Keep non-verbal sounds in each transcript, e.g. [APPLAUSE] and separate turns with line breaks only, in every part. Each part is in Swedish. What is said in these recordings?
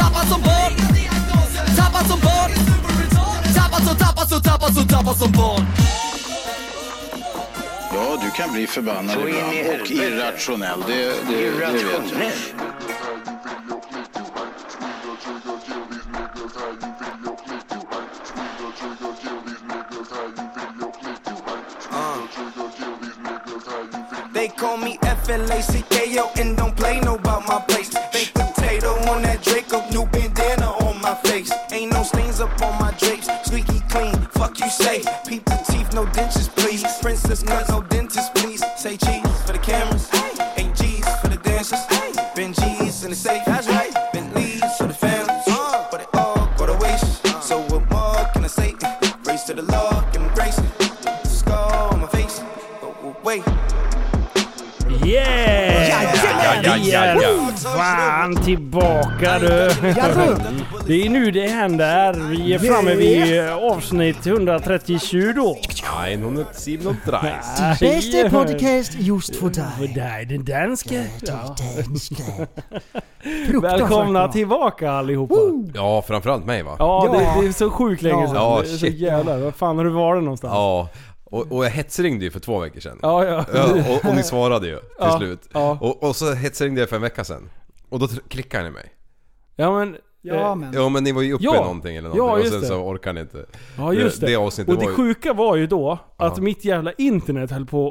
Tappad som barn Tappad som barn Tappad som, tappad som, tappad som, tappad som barn
Ja, du kan bli förbannad
Så in i
ibland och
helvete.
irrationell. Det, det, det vet jag.
Irrationell.
They call me F-L-A-C-K-O and don't play no about my place. Baked potato on that Draco, new bandana on my face. Ain't no stains up on my drapes, squeaky clean. Fuck you say, peep the teeth, no dentures please. Princess cut, no dentist please. Say cheese for the cameras, eight G's for the dancers. Benji's in the safe, that's right. Uh. Bentleys for the families, but it all go to waste. So what more can I say? Race to the law, give 'em grace. Scar on my face, oh wait.
Yeah! Vi
ja,
är fan tillbaka du!
Jaså?
Det är nu det händer. Vi är framme vid eh, avsnitt 137 då. [LAUGHS]
137.
Bästa podcast just för
För
dig.
dig, den danske. Ja.
Danska.
Välkomna
Fruktansvärt bra.
tillbaka allihopa.
Ja, framförallt mig va?
Ja,
Ja.
Det, det är så sjukt länge
Ja.
sedan.
Ja,
det är så
shit.
jävla... Vad fan har du varit någonstans?
Ja. Och, och jag hetsringde ju för två veckor sedan.
Ja, ja.
Ja, och, och ni svarade ju till
Ja,
slut.
ja.
Och, och så hetsringde jag för en vecka sedan. Och då tr- klickade ni mig.
Ja, men...
Ja
eh,
men.
Ja men ni var ju uppe
Ja.
i någonting eller någonting
Ja,
och
just
sen
det.
så orkar ni inte.
Ja just det.
Det avsnittet
och det
var ju-
sjuka var ju då att
Ja.
mitt jävla internet höll på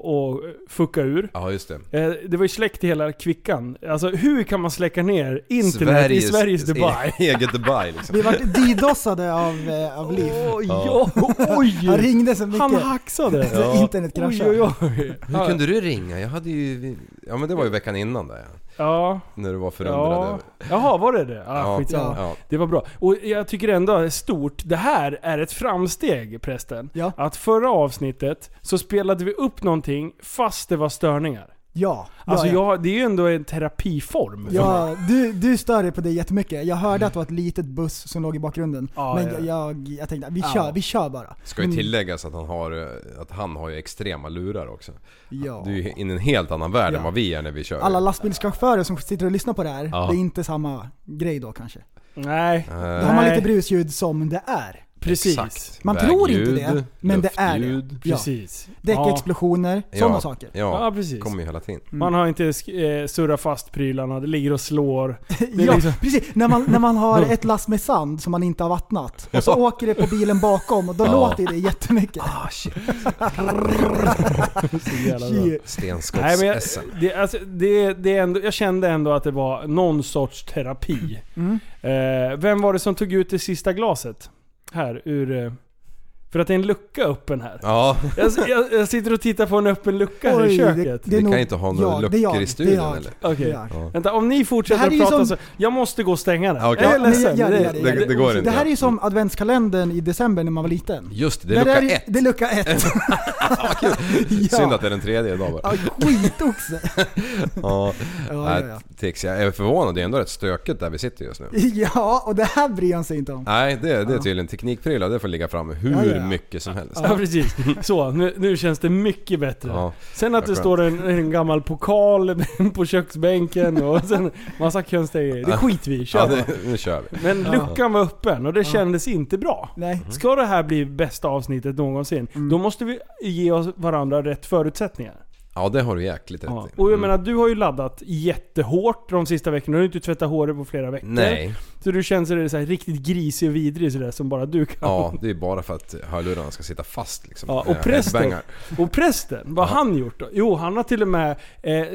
att fucka ur.
Ja just det.
Eh, Det var ju släckt i hela kvickan. Alltså hur kan man släcka ner internet i Sveriges Dubai?
e- [LAUGHS] Eget Dubai
[LAUGHS]
liksom.
Vi vart didossade av, eh, av Liv.
Åh, ja. Oj!
Han ringde så
Han
mycket. Alltså,
hacksade.
Så internet
Oj,
kraschade.
oj, oj.
Hur kunde du ringa? Jag hade ju... Ja men det var ju veckan innan där ja.
Ja,
När du var förundrad
ja.
över...
Jaha, var det det? Ah,
Ja.
skitsamma.
Ja.
Det var bra. Och jag tycker ändå det är stort. Det här är ett framsteg prästen.
Ja.
Att förra avsnittet så spelade vi upp någonting fast det var störningar.
Ja.
Alltså
ja, ja.
Jag, det är ju ändå en terapiform. för mig.
Ja, du, du stör dig på det jättemycket. Jag hörde att det var ett litet buss som låg i bakgrunden.
Ja,
men
ja.
jag, jag, jag tänkte, vi
Ja.
kör, vi kör bara. Mm.
Ska
Mm.
ju tilläggas att han har, eh, att han har ju extrema lurar också.
Ja.
Du är ju in i en helt annan värld än vad vi är när vi kör.
Alla lastbilschaufförer som sitter och lyssnar på det här,
Ja.
det är inte samma grej då kanske.
Nej,
Då har man
Nej.
lite brusljud som det är.
precis.
Exakt.
Man tror inte
Vägljud,
det, men det är
luftljud.
det. Ja.
Precis. Ja.
Däckexplosioner, sådana saker.
Ja,
Ja,
ja
precis. Mm.
kommer ju hela tiden.
Mm.
Man har inte sk- eh, surrat fast prylarna, det ligger och
[LAUGHS]
slår. är
ja,
liksom-
precis. När man, när
[LAUGHS]
man har ett last med sand som man inte har vattnat och så åker det på bilen bakom och
[LAUGHS]
då
Ja.
låter det jättemycket.
Ah shit.
Jävla bra. Nej,
Shit.
men jag,
Stenskotts-SM.
det, alltså, det, det är ändå, jag kände ändå att det var någon sorts terapi.
Mm.
Eh, vem var det som tog ut det sista glaset? Här, ur... eh, För att det är en lucka öppen här.
Ja,
Jag, jag, jag sitter och tittar på en öppen lucka här
Oj,
i köket.
Vi kan inte ha några
det är
luckor
jag,
i
det är
studion,
jag,
eller?
det är
Okej.
jag.
Vänta, om ni fortsätter
Det här är
att
ju
prata
som-
så... Jag måste gå och stänga den.
Ja, okej.
Jag är
Ja,
men
ledsen.
gör
Det-
gör
det- det går inte.
Det här är ju som adventskalendern i december när man var liten.
just det. Det är
där
lucka ett.
Det är lucka
[LAUGHS]
ett. [LAUGHS] ja.
Synd att det är den tredje idag bara.
Ja, skitoxe.
Ja,
Ja, ja,
nej,
ja.
Tix, jag är förvånad. Det är ändå rätt stökigt där vi sitter just nu.
ja, och det här bryr han sig inte om.
Nej, det, det är tydligen teknikprylar. Det får ligga fram hur
Ja, ja, ja.
mycket som helst.
Ja precis. Så, nu, nu känns det mycket bättre.
Ja.
Sen att
Vad
det
skönt.
står en, en gammal pokal [LAUGHS] på köksbänken och sen massa konstiga grejer. Det skiter vi i, kör
Ja,
bara.
det, nu kör vi.
Men luckan var öppen och det kändes inte bra.
Nej.
Mm.
Ska det här bli bästa avsnittet någonsin, då måste vi ge oss varandra rätt förutsättningar.
Ja, Mm. det har du jäkligt rätt
Ja.
i.
Och jag menar, du har ju laddat jättehårt de sista veckorna. Du har ju inte tvättat håret på flera veckor.
Nej,
Så du känns sådär, såhär, riktigt grisig och vidrig sådär, som bara du kan.
ja, det är bara för att hörlurarna ska sitta fast liksom.
Ja, och
Eh,
prästen,
headbangar.
och prästen, vad har han gjort då? Jo, han har till och med eh,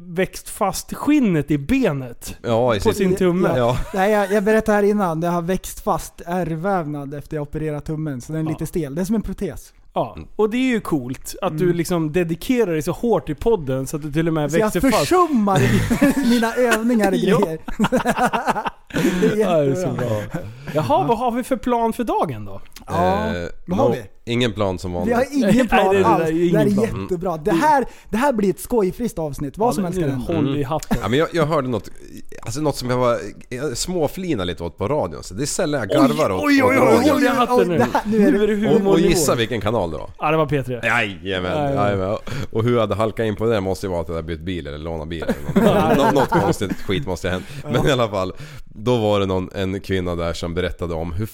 växt fast skinnet i benet.
Ja, i
På
sitt...
sin tumme.
Ja.
Nej, jag, jag berättade här innan, det har växt fast ärrvävnad efter jag opererat tummen, så den är lite stel. Det är som en protes.
Ja,
Mm.
och det är ju coolt att du liksom dedikerar dig så hårt i podden så att du till och med
Så jag [LAUGHS]
växer fast. [LAUGHS]
försummar mina övningar och
Ja.
grejer. Det är
Ja, det är så
jättebra.
bra. Jaha, vad har vi för plan för dagen då?
Ja,
Eh,
vad har
no,
vi?
Ingen plan som
Vi
vanligt.
har ingen plan
Nej, det- det där är
alls.
ju
det här
ingen
är
plan.
jättebra. Det här, det här blir ett skojfriskt avsnitt. Vad som helst kan
nu,
hända.
Mm.
Håll i hatten.
Ja, men jag, jag hörde något, alltså något som jag var jag småflinade lite åt på radion. Så det är sällan jag garvar åt,
Oj, oj,
åt
oj,
radion.
håll i hatten nu.
det här- nu är
Nu är det
Och, och
humornivå.
gissa vilken kanal det var.
Ja, det var P3.
Jajamän,
Nej,
jajamän. Och hur jag hade halkat in på det måste ju vara att jag hade bytt bil eller lånat bil eller
[LAUGHS]
något. Nå- något konstigt skit måste ha hänt. Men i alla fall, då var det någon, en kvinna där som berättade om hur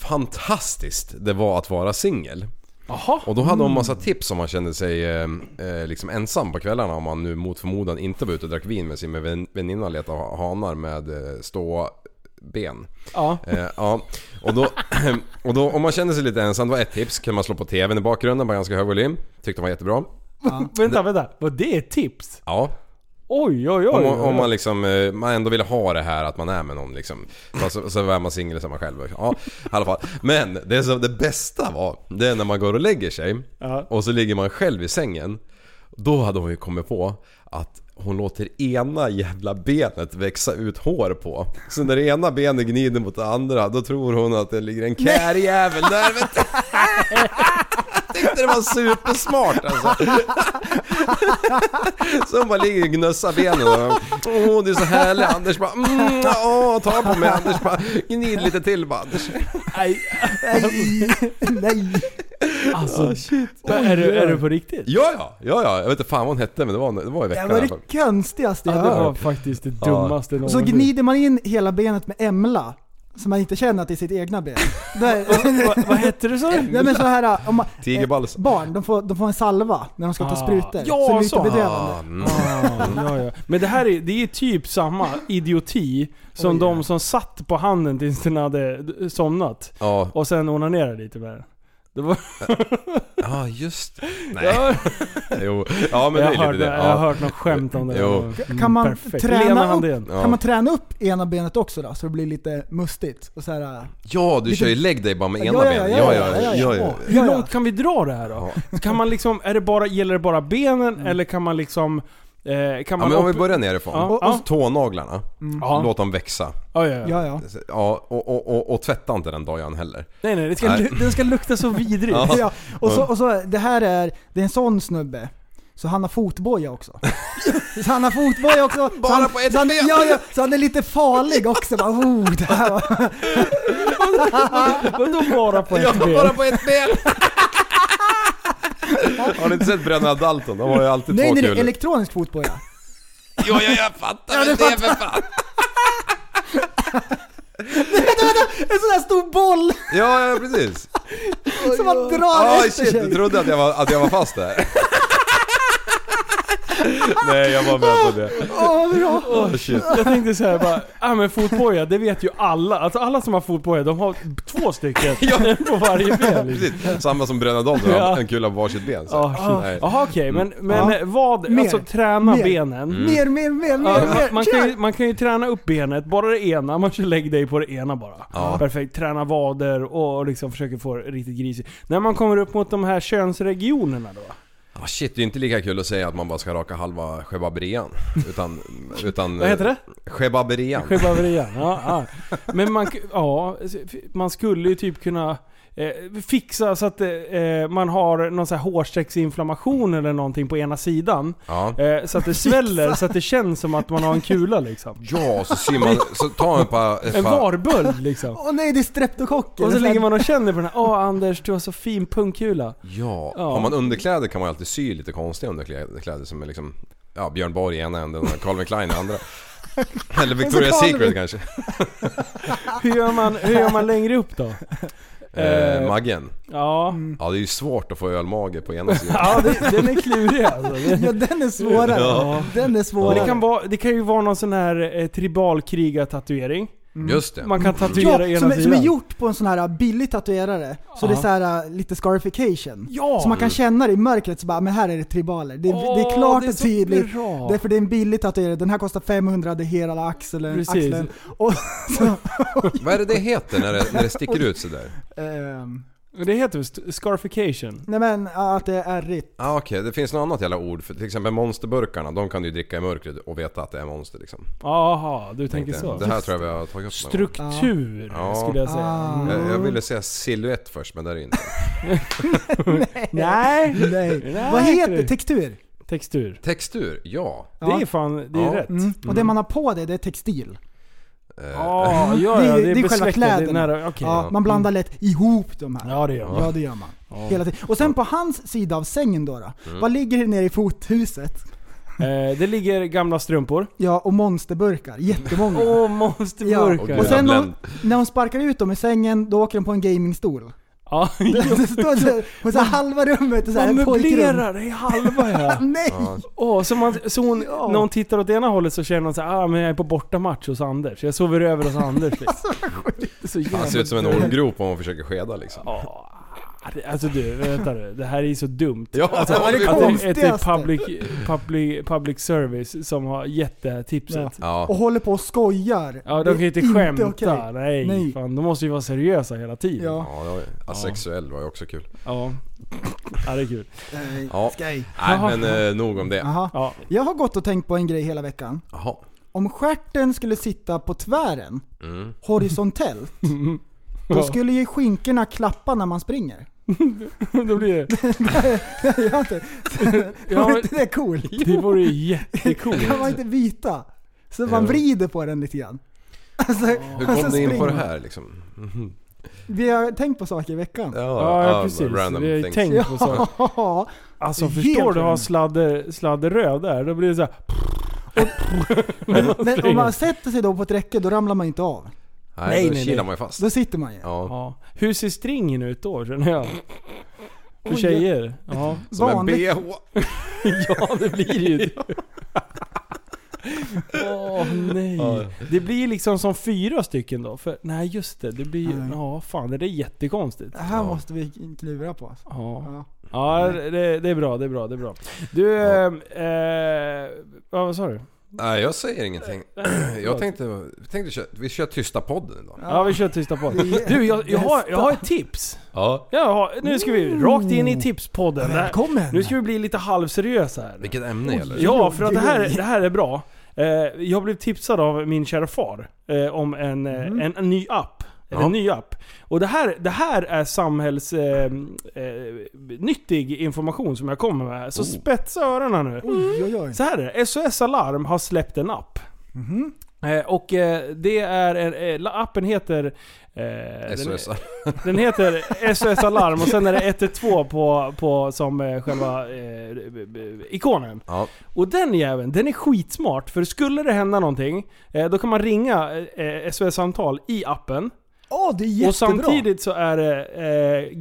fantastiskt det var att vara singel.
Jaha.
Och då hade hon massa tips om man kände sig eh, eh, liksom ensam på kvällarna om man nu mot förmodan inte var ute och drack vin med sin vän- väninna och letade ha- hanar med eh, stå ben.
Ja.
Eh, ja. Och, då, [CLEARS THROAT] och då om man kände sig lite ensam, det var ett tips, kan man slå på TVn i bakgrunden på ganska hög volym. Tyckte de var jättebra.
Vänta, vänta. Var det ett tips?
Ja,
Oj, oj, oj.
om, man- om man liksom, eh, man ändå vill ha det här att man är med någon liksom. Fast så, så är man singel så är man själv. Ja, i alla fall. Men det som det bästa var, det är när man går och lägger sig
Ja.
och så ligger man själv i sängen. Då hade hon ju kommit på att hon låter ena jävla benet växa ut hår på. Så när det ena benet gnider mot det andra, då tror hon att det ligger en kärjävel där vet du. [LAUGHS] Tyckte det var supersmart alltså. Så hon bara ligger och gnussar benen och bara, Åh du är så härlig Anders bara mm, åh, ta på mig Anders bara Gnid lite till bara Anders.
Nej,
Nej. [LAUGHS]
alltså. Men är, du, är du på riktigt?
Ja ja, ja ja, jag vet inte fan vad hon hette men det var, det var i
Det
veckan i
var
alla fall.
det konstigaste jag
Ja, det
hört.
var faktiskt det dummaste
Och så
någonsin.
gnider man in hela benet med emla. Så man inte känner att det är sitt egna ben. Där, [LAUGHS]
Vad- Vad hette det så?
nej men så här, om man, Eh,
Tigerbalsam.
barn, de får, de får en salva när de ska ta
Ah.
sprutor.
Ja,
så lite
så.
bedövande.
Mm.
Ah, ja, ja. Men det här är, det är typ samma idioti som
Oj,
de
ja.
som satt på handen tills den hade d- somnat.
Ja,
Och sen onanerade lite med den. Det var,
ja just Nej,
jag
[LAUGHS] jo. Ja men det
har
är lite
hört,
det.
jag har
Ja.
hört något skämt om det.
Jo.
Mm,
Kan man träna
Lena
upp-
Handén.
Ja.
Kan man träna upp ena benet också då? Så det blir lite mustigt. Och så här, äh,
ja du kör ju lägg dig bara med ena benet. Ja ja ja. ja, ja.
Åh,
Hur långt kan vi dra det här då? Kan man liksom, är det bara, gäller det bara benen
Mm.
eller kan man liksom... Eh, kan
Ja
man
men om vi
upp-
börjar nerifrån.
Ja.
Och,
Ja.
och tånaglarna.
Ja.
Låt dem växa.
Ja, ja, ja.
Ja, ja.
Ja, och, och, och, och tvätta inte den dojan heller.
Nej nej, det ska,
Nej.
den ska lukta så vidrigt.
Ja.
ja. Och, så, och så, det här är, det är en sån snubbe. Så han har fotboja
[LAUGHS]
också. Så han har fotboja också. så
Bara
han,
på ett
så han,
ben.
ja, ja, så han är lite farlig också. Bara, oh, det här var,
Vadå bara på ett ben?
på ett ben! [LAUGHS] Har ni inte sett Bröderna Dalton? De har ju alltid
nej,
[LAUGHS] två
nej, nej,
kulor.
elektronisk fotboja.
Jo, ja, jag fattar
Ja, du
men det är för fan!
En sån där stor boll
Ja, ja precis.
[LAUGHS] som man drar
Ah
efter
shit,
sig.
du trodde att jag var, att jag var fast där. [LAUGHS] nej, jag var med på det.
[LAUGHS] Åh, vad bra.
Oh, shit.
Jag tänkte såhär bara, ah, men fotboja, det vet ju alla. Alltså alla som har fotboja, de har två stycken.
Ja.
En på varje ben liksom.
Precis, samma som Bröderna Dalton,
Ja.
en kula på varsitt ben. Så.
Ah, shit.
Nej.
Jaha okej, men, men
Mm. Ja.
vad,
Mer.
alltså träna
Mer.
benen.
Mm.
Mer, mer, mer,
Ja,
mer, mer.
man, man, kan ju,
Kör!
man kan ju träna upp benet, bara det ena. Man kör lägg dig på det ena bara.
Ja.
Perfekt. Träna vader och liksom försöker få det riktigt grisigt. När man kommer upp mot de här könsregionerna då?
Ah, shit, det är ju inte lika kul att säga att man bara ska raka halva chebabrian. Utan... utan
Vad heter det?
Chebabrian.
Chebaverian. Ja, ja. Men man, ja, man skulle ju typ kunna eh, fixa så att eh, man har någon sån här hårsträcksinflammation eller någonting på ena sidan.
Ja.
Eh, så att det sväller, så att det känns som att man har en kula liksom.
Ja, så simmar så tar en par... ett
En
par-
varböld liksom.
Åh nej, det är streptokocker.
Och så ligger man och känner på den här, åh Anders du har så fin pungkula.
Ja.
Ja.
har man underkläder kan man ju alltid sy lite konstiga underkläder kläder som är liksom... Ja, Björn Borg i ena änden och Calvin Klein i
[LAUGHS]
andra. Eller Victoria's
Calvin.
Secret kanske.
Hur gör man, hur gör man längre upp då?
Eh, Maggen.
Ja,
Ja, det är ju svårt att få ölmage på ena sidan.
ja det, den är klurig alltså.
[LAUGHS] Ja, den är svårare.
Ja.
Den är
Och
svårare.
det, kan vara, det kan ju vara någon sån här eh, tribalkriga-tatuering.
Just det.
Man kan
Ja,
tatuera ena
som, är- som
sidan.
är gjort på en sån här äh, billig tatuerare. Så
Ja.
det är så här äh, lite scarification.
Ja!
Så man kan känna det i mörkret, så bara, men här är det tribaler. Det,
Åh,
det är klart
det är
och
så
tydligt.
bra.
Därför det är en billig tatuering. Den här kostar 500, det är hela axeln.
Precis.
axeln. Och, [LAUGHS] så,
[LAUGHS]
Vad är det det heter när det, när det sticker ut sådär?
ehm,
Det heter väl st- scarification?
Nej men ja, att det är ärrigt.
ah, okej, det finns något annat jävla ord för till exempel monsterburkarna, de kan du ju dricka i mörkret och veta att det är monster liksom.
Jaha, du tänker
Tänkte
så.
jag. Det här tror jag vi har tagit upp någon gång.
Struktur
Ja.
skulle jag säga. Mm.
Ah. [LAUGHS]
jag, jag ville säga silhuett först men det är
[LAUGHS]
det inte.
Nej!
Nej.
[LAUGHS] Nej.
Vad heter det? Textur?
Textur.
Textur, ja.
Det är fan, det är
Ja.
rätt.
Mm. Och det man har på det, det är textil.
Eh,
Ja, ja,
Det
ja,
är-
det
det
är
är själva
besläktat. Det är
kläderna.
nära, okej.
Ja, man blandar lätt ihop de här.
Mm. Ja, Mm. det gör man.
Ja det gör man. Hela tiden. Och sen på hans sida av sängen då, då Vad ligger det nere i fothuset?
Eh, det ligger gamla strumpor.
Ja, och monsterburkar. Jättemånga.
Åh,
ja.
monsterburkar.
Åh,
Ja.
Och sen
Jävlar.
hon, när hon sparkar ut dem i sängen, då åker de på
[LAUGHS]
en gamingstol. Det står så, på så här halva rummet och [LAUGHS] så här
man
ett pojkrum.
möblerar i halva ja.
Nej!
Åh, så, man, så hon, när hon tittar åt ena hållet så känner hon så här, ah men jag är på bortamatch hos Anders. Jag sover över hos Anders.
[LAUGHS]
Liksom. så
Han ser ut som en ormgrop om man försöker skeda liksom.
Åh, Alltså du, vänta nu. Det här är ju så dumt.
[LAUGHS] Ja,
alltså,
det var det
att det, att det är
konstigaste.
public, public, public service som har gett det här tipset. Ja.
Och
Ja,
håller på och skojar.
de kan ju
Det
inte
är
skämta.
okej.
Nej,
Nej.
Fan, de måste ju vara seriösa hela tiden.
Ja.
ja det var ju- asexuell var ju också kul.
Ja, ja det är kul.
Ja.
Skoj.
Nej
Jaha.
men eh, nog om det.
Jaha.
Ja.
Jag har gått och tänkt på en grej hela veckan.
Jaha.
Om stjärten skulle sitta på tvären,
Mm.
horisontellt, då
Ja.
skulle ju skinkorna klappa när man springer.
[LAUGHS] Då blir det,
Jag har inte,
Ja,
[LAUGHS] var [LAUGHS]
men-
inte det cool?
det vore ju jättecoolt.
Kan man inte vita? Så man
Jo.
vrider på den lite grann. Alltså,
Hur kom ni in på
springer
det
man.
här liksom? Mhm.
Vi har tänkt på saker i veckan.
Ja, ja precis.
Random
Vi har ju
things.
tänkt på saker. [LAUGHS]
Ja.
Alltså
Helt
förstår du att ha
random.
sladder, sladderröd där? Då blir det så här.
Men om
springer.
man sätter sig då på ett räcke, då ramlar man inte av.
Nej,
Nej,
då
nej,
kilar
nej.
man ju fast.
Då sitter man ju.
Ja.
Ja. Hur ser stringen ut då känner jag? För
Oj,
tjejer? Ja.
Som en
vanligt-
bh.
[LAUGHS] ja, det blir det ju. Åh nej.
Ja.
Det blir liksom som fyra stycken då. För, nej just det, det blir ju...
Nej.
Ja fan, det där är jättekonstigt.
Det här
Ja.
måste vi klura på. alltså.
Ja,
Ja.
ja det, det är bra, det är bra, det är bra. Du,
Ja.
eh, eh, ja, vad sa du?
Nej jag säger ingenting.
[CLEARS THROAT]
Jag tänkte, tänkte köra, vi kör tysta podden idag.
Ja, vi kör tysta på. Du, jag, jag, har, jag har ett tips.
Ja.
Jag har, nu ska vi rakt in i tipspodden. Det här-
Välkommen!
Nu ska vi bli lite halvseriösa här.
Vilket ämne gäller det?
Ja, för att det här, det här är bra. Eh, Jag blev tipsad av min kära far eh, om en, eh, en, en ny app. Eller
Ja.
en ny app. Och det här, det här är samhällsnyttig eh, nyttig information som jag kommer med. här. Så spetsa öronen nu.
Oj, oj, oj.
Så här är det. SOS Alarm har släppt en app. Eh, Och eh, det är en, eh, appen heter... eh, den-
SOS.
den heter SOS Alarm och sen är det 112 på, på som eh, själva eh, b- b- ikonen.
Ja.
Och den jäveln, den är skitsmart. För skulle det hända någonting, eh, då kan man ringa eh, SOS-samtal i appen.
Åh, det är jättebra!
Och samtidigt så är det eh,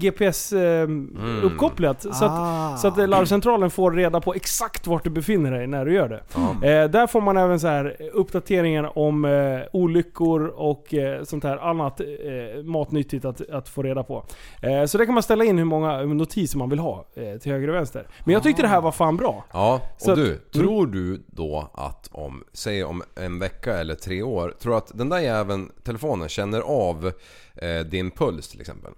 Mm.
GPS-uppkopplat. Så, att,
Ah.
så att eh, larmcentralen får reda på exakt vart du befinner dig när du gör det.
Ja.
Eh, där får man även så här eh, uppdateringar om eh, olyckor och eh, sånt här annat eh, matnyttigt att, att få reda på. Eh, så där kan man ställa in hur många eh, notiser man vill ha eh, till höger och vänster. Men jag tyckte
Ah.
det här var fan bra.
Ja,
Så
och
att- Mm.
du, tror du då att om, säg om en vecka eller tre år, tror du att den där jäveln, telefonen, känner av eh, din puls till exempel?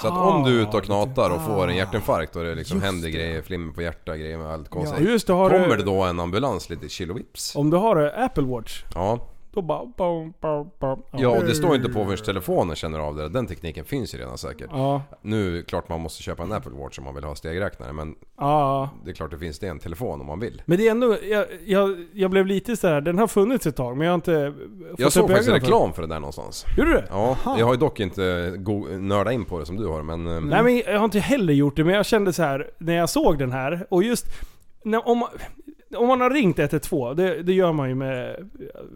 Så att om du
Ah,
är ute och knatar och får en hjärtinfarkt och det liksom händer grejer, flimmer på hjärta, grejer med allt konstigt.
Ja, just det, har du-
Kommer det då en ambulans lite kilovips?
Om du har eh, Apple Watch,
Ja.
då bara... Bom, bom, bom,
ja, och det står inte på förrän telefonen känner av det. där. Den tekniken finns ju redan säkert.
Ja.
Nu, klart man måste köpa en Apple Watch om man vill ha stegräknare men
Ja.
det är klart det finns det i en telefon om man vill.
Men det är ändå, jag, jag, jag blev lite så här. den har funnits ett tag men jag har inte fått
Jag såg
upp
faktiskt
ögonen för-
reklam för det där någonstans.
Gjorde du det?
Ja, jag har ju dock inte go- nördat in på det som du har men... eh,
Nej men jag har inte heller gjort det, men jag kände så här när jag såg den här och just när, om, man- om man har ringt 112, det, det gör man ju med...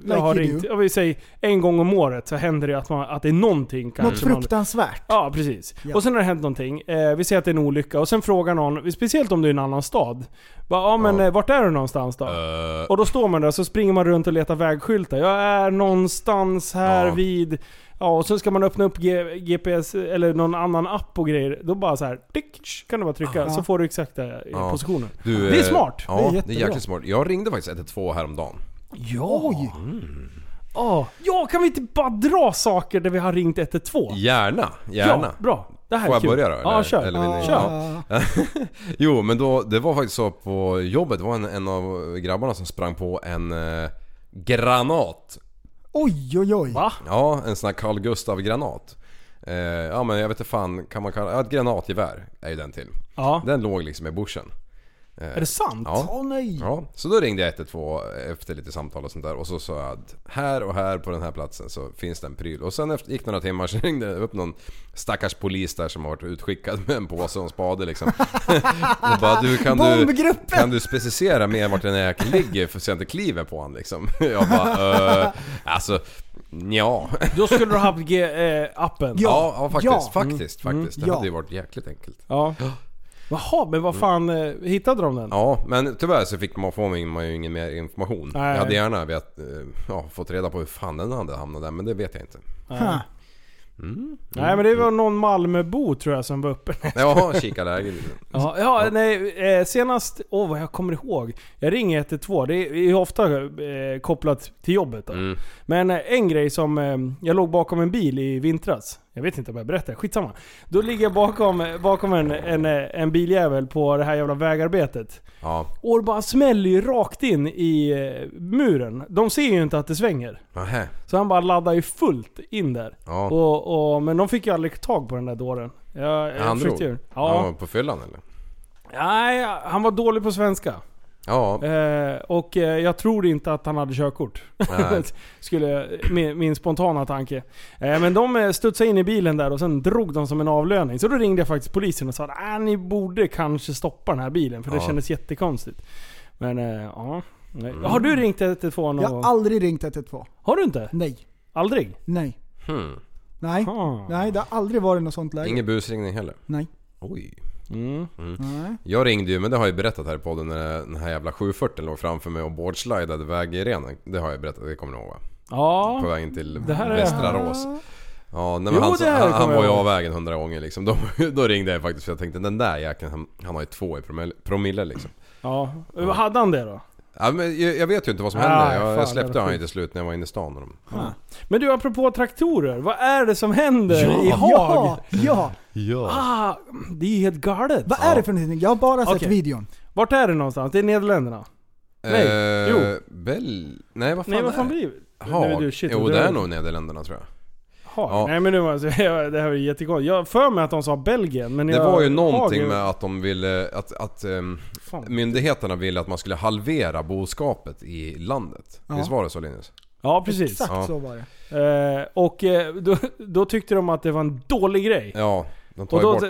Jag har
you
ringt,
do.
jag vill säga en gång om året så händer det att, man, att det är någonting
Något
kanske. man,
fruktansvärt.
ja precis.
Ja.
Och sen har det hänt någonting, eh, vi säger att det är en olycka och sen frågar någon, speciellt om du är i en annan stad. Bara, ja men
Ja.
eh, vart är du någonstans då?
eh,
Och då står man där och så springer man runt och letar vägskyltar. Jag är någonstans här
Ja.
vid... Ja, och så ska man öppna upp G- GPS eller någon annan app och grejer. Då bara så här, tick, tsch, kan du bara trycka så får du exakta eh,
Ja.
positionen.
du,
det är
eh,
smart!
Ja,
Det är
det är,
jättebra.
jäkligt smart. Jag ringde faktiskt 112 häromdagen.
Oj!
Ja, kan vi inte bara dra saker där vi har ringt 112?
Gärna, gärna.
Ja, bra. Det här
Får
är
jag
kul.
börja då?
Ja, kör.
Eller vill ni-
kör.
Ja.
[LAUGHS] Jo, men då, det var faktiskt så på jobbet, det var en, en av grabbarna som sprang på en eh, granat.
Oj, oj, oj.
Va?
Ja, en sån här Carl Gustav-granat. Eh, ja men jag vet inte fan, kan man kalla ja, ett granatgevär är ju den till.
Ja.
Den låg liksom i bushen.
Är det sant?
Ja.
Åh nej.
Ja, så då ringde jag 112 efter lite samtal och sånt där och så sa jag att här och här på den här platsen så finns det en pryl. Och sen efter, gick några timmar [LAUGHS] så ringde det upp någon stackars polis där som har varit utskickad med en påse och en spade liksom. [LAUGHS] och bara du kan du,
Bombgruppen!
kan du specificera mer vart den här jäkeln ligger för så jag inte kliver på han liksom. [LAUGHS] jag bara eh, alltså ja.
Då skulle du ha haft G, eh, appen.
Ja.
Ja, ja faktiskt,
Ja. Mm.
faktiskt, faktiskt. Det
ja.
hade ju varit jäkligt enkelt.
Ja. Jaha, men vad fan eh, hittade de den?
Ja, men tyvärr så fick man, får man ju- man ju ingen mer information.
Nej.
Jag hade gärna vet, eh, ja, fått reda på hur fan den hade hamnat där, men det vet jag inte.
Huh.
Nej men det var någon Malmöbo tror jag som var uppe.
Ja, kika
[LAUGHS]
läget lite.
Ja, ja nej, eh, senast, åh vad jag kommer ihåg. Jag ringer 112, det är ju ofta eh, kopplat till jobbet då.
Mm.
Men eh, en grej som, eh, jag låg bakom en bil i vintras. Jag vet inte om jag berättar, skitsamma. Då ligger jag bakom, bakom en, en, eh, en biljävel på det här jävla vägarbetet.
Ja,
Och det bara smäller ju rakt in i eh, muren. De ser ju inte att det svänger.
nähä.
Så han bara laddar ju fullt in där.
Ja.
Och, och, men de fick ju aldrig tag på den där dåren. Jag, jag
Han
försökte
drog?
ju-
Ja.
Ja.
på fyllan eller?
Nej, han var dålig på svenska.
Ja,
Eh, och eh, jag tror inte att han hade körkort.
nej.
[LAUGHS] Skulle, min, min spontana tanke. Eh, men de eh, studsade in i bilen där och sen drog de som en avlöning. Så då ringde jag faktiskt polisen och sa att ni borde kanske stoppa den här bilen för det
Ja.
kändes jättekonstigt. Men eh, ja. Nej.
Mm.
Har du ringt 112 någon
Jag har
gång?
aldrig ringt 112.
Har du inte?
Nej.
Aldrig?
Nej.
Hmm.
Nej.
Ah.
Nej, det har aldrig varit något sånt läge.
Ingen busringning heller?
Nej.
Oj.
Mm.
Nej.
Jag ringde ju, men det har jag ju berättat här i podden, när den här jävla 740 låg framför mig och boardslidade vägrenen. Det har jag berättat, det kommer ni ihåg va? På
Ja.
vägen till
Det här är-
Västra Rås. Ja, nej, men
Jo,
han,
det här
han, han
kommer
var
jag
ju
ihåg.
av vägen hundra gånger liksom. Då, [LAUGHS] då ringde jag faktiskt för jag tänkte den där jäkeln, han, han har ju två i promille, promille liksom.
ja. Hade han det då?
Ja, men jag, jag vet ju inte vad som
Ah,
hände. Jag,
fan,
jag släppte
jävla
han ju
skit.
till slut när jag var inne i stan. Och de,
Ah, Men du, apropå traktorer. Vad är det som händer i Haag?
Ja, ja.
ja.
Ah, det är ju helt galet.
Vad är det för någonting? Jag har bara sett
Okej.
videon.
Vart är det någonstans? Det är Nederländerna? Nej,
Eh,
jo.
Bel... Nej, vad fan
Nej, vad fan
är det?
blir det? Nu
Haag?
du- shit,
jo,
du
det är
drar-
nog Nederländerna tror jag.
Haag.
Ja.
Nej men nu var jag, jag- [LAUGHS] det här är jättekonstigt. Jag har för mig att de sa Belgien, men
Det
jag,
var ju någonting
Haag är-
med att de ville... Att, att ehm,
Fan.
myndigheterna ville att man skulle halvera boskapet i landet.
Ja.
Visst var det så Linus?
Ja, precis.
Exakt
Ja.
så var det.
Eh, och eh, då, då tyckte de att det var en dålig grej.
Ja, de tar
och
ju
då,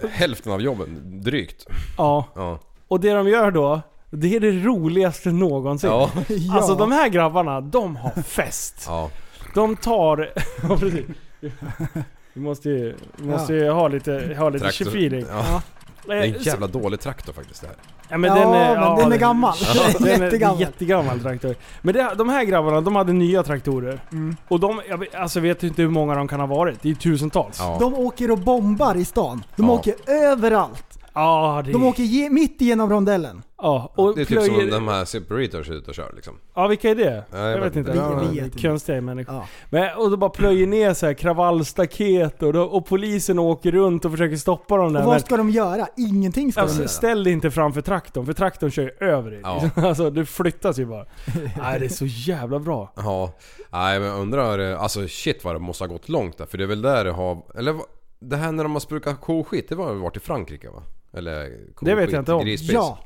[LAUGHS] då,
hälften av jobben, drygt.
ja,
Ja.
och det de gör då, det är det roligaste någonsin.
Ja.
[LAUGHS]
Ja.
Alltså de här grabbarna, de har fest.
ja.
De tar... [LAUGHS] Ja, precis. Vi måste ju, vi måste ju ha lite, ha lite
Traktor-
feeling.
Ja. Det är
Eh,
en jävla dålig traktor faktiskt det här.
Ja men,
Ja,
den, är,
men den
[LAUGHS]
är gammal.
den är
[LAUGHS] Jättegammal.
jättegammal traktor. Men det, de här grabbarna, de hade nya traktorer.
Mm.
Och de, jag vet, alltså vet inte hur många de kan ha varit. Det är tusentals. Ja,
Ja.
De åker och bombar i stan. De
Ja.
åker överallt.
det,
De åker ge- mitt igenom rondellen.
ja, och
det är typ
plöjer,
som de här Super Eaters är ute och kör liksom.
Ja vilka är det?
Ja, jag
jag
vet
vet inte.
inte.
Ja,
Vi
det är
vet
Konstiga människor.
Ja.
Men, och de bara plöjer ner så här kravallstaket och, då, och polisen åker runt och försöker stoppa dem där.
Och
men-
vad ska de göra? Ingenting ska de
Alltså,
göra.
ställ dig inte framför traktorn, för traktorn kör ju över dig.
Ja.
[LAUGHS] Alltså, du flyttas ju
[LAUGHS]
bara. Nej, det är så jävla bra.
Ja. Nej men undrar, eh, alltså shit vad det måste ha gått långt där. För det är väl där det har, eller va- det här när de har sprukat koskit, det var väl varit i Frankrike va? Eller koskit,
Det vet jag inte om.
Grispiss.
Ja.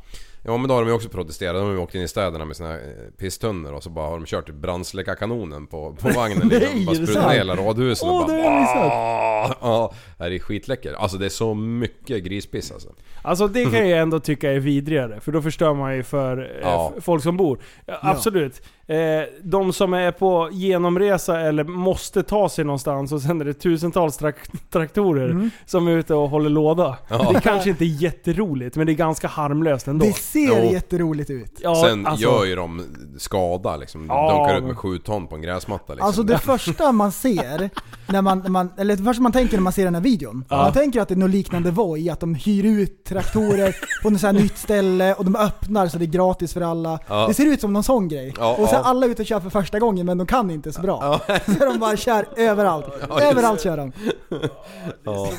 Ja men då har de ju också protesterat. De har ju åkt in i städerna med sina eh, pisstunnor och så bara har de kört brandsläckarkanonen på, på
[LAUGHS]
vagnen liksom.
Nej,
bara
är det
sprutat
sant?
ner hela radhusen
Åh,
och bara...
det har jag missat.
Ja, det är skitläckert. Alltså det är så mycket grispiss alltså.
Alltså
[LAUGHS]
det kan jag ändå tycka är vidrigare, för då förstör man ju för eh,
Ja.
f- folk som bor. Ja, Absolut. Eh, de som är på genomresa eller måste ta sig någonstans och sen är det tusentals trak- traktorer som är ute och håller låda. Det kanske inte är jätteroligt, men det är ganska harmlöst ändå.
Det ser
Jo.
jätteroligt ut.
Ja,
Sen
alltså,
gör ju de skada liksom. Du
Ja,
dunkar ut
men-
med sju ton på en gräsmatta liksom.
Alltså det första man ser, när man, när man, eller det första man tänker när man ser den här videon, man tänker att det är något liknande Voi, att de hyr ut traktorer på något sånt här nytt ställe och de öppnar så det är gratis för alla.
Ja.
Det ser ut som någon sån grej.
Ja,
och så är
ja.
alla ute och kör för första gången men de kan inte så bra. [LAUGHS] Så de bara kör överallt.
just
överallt kör de.
Ja.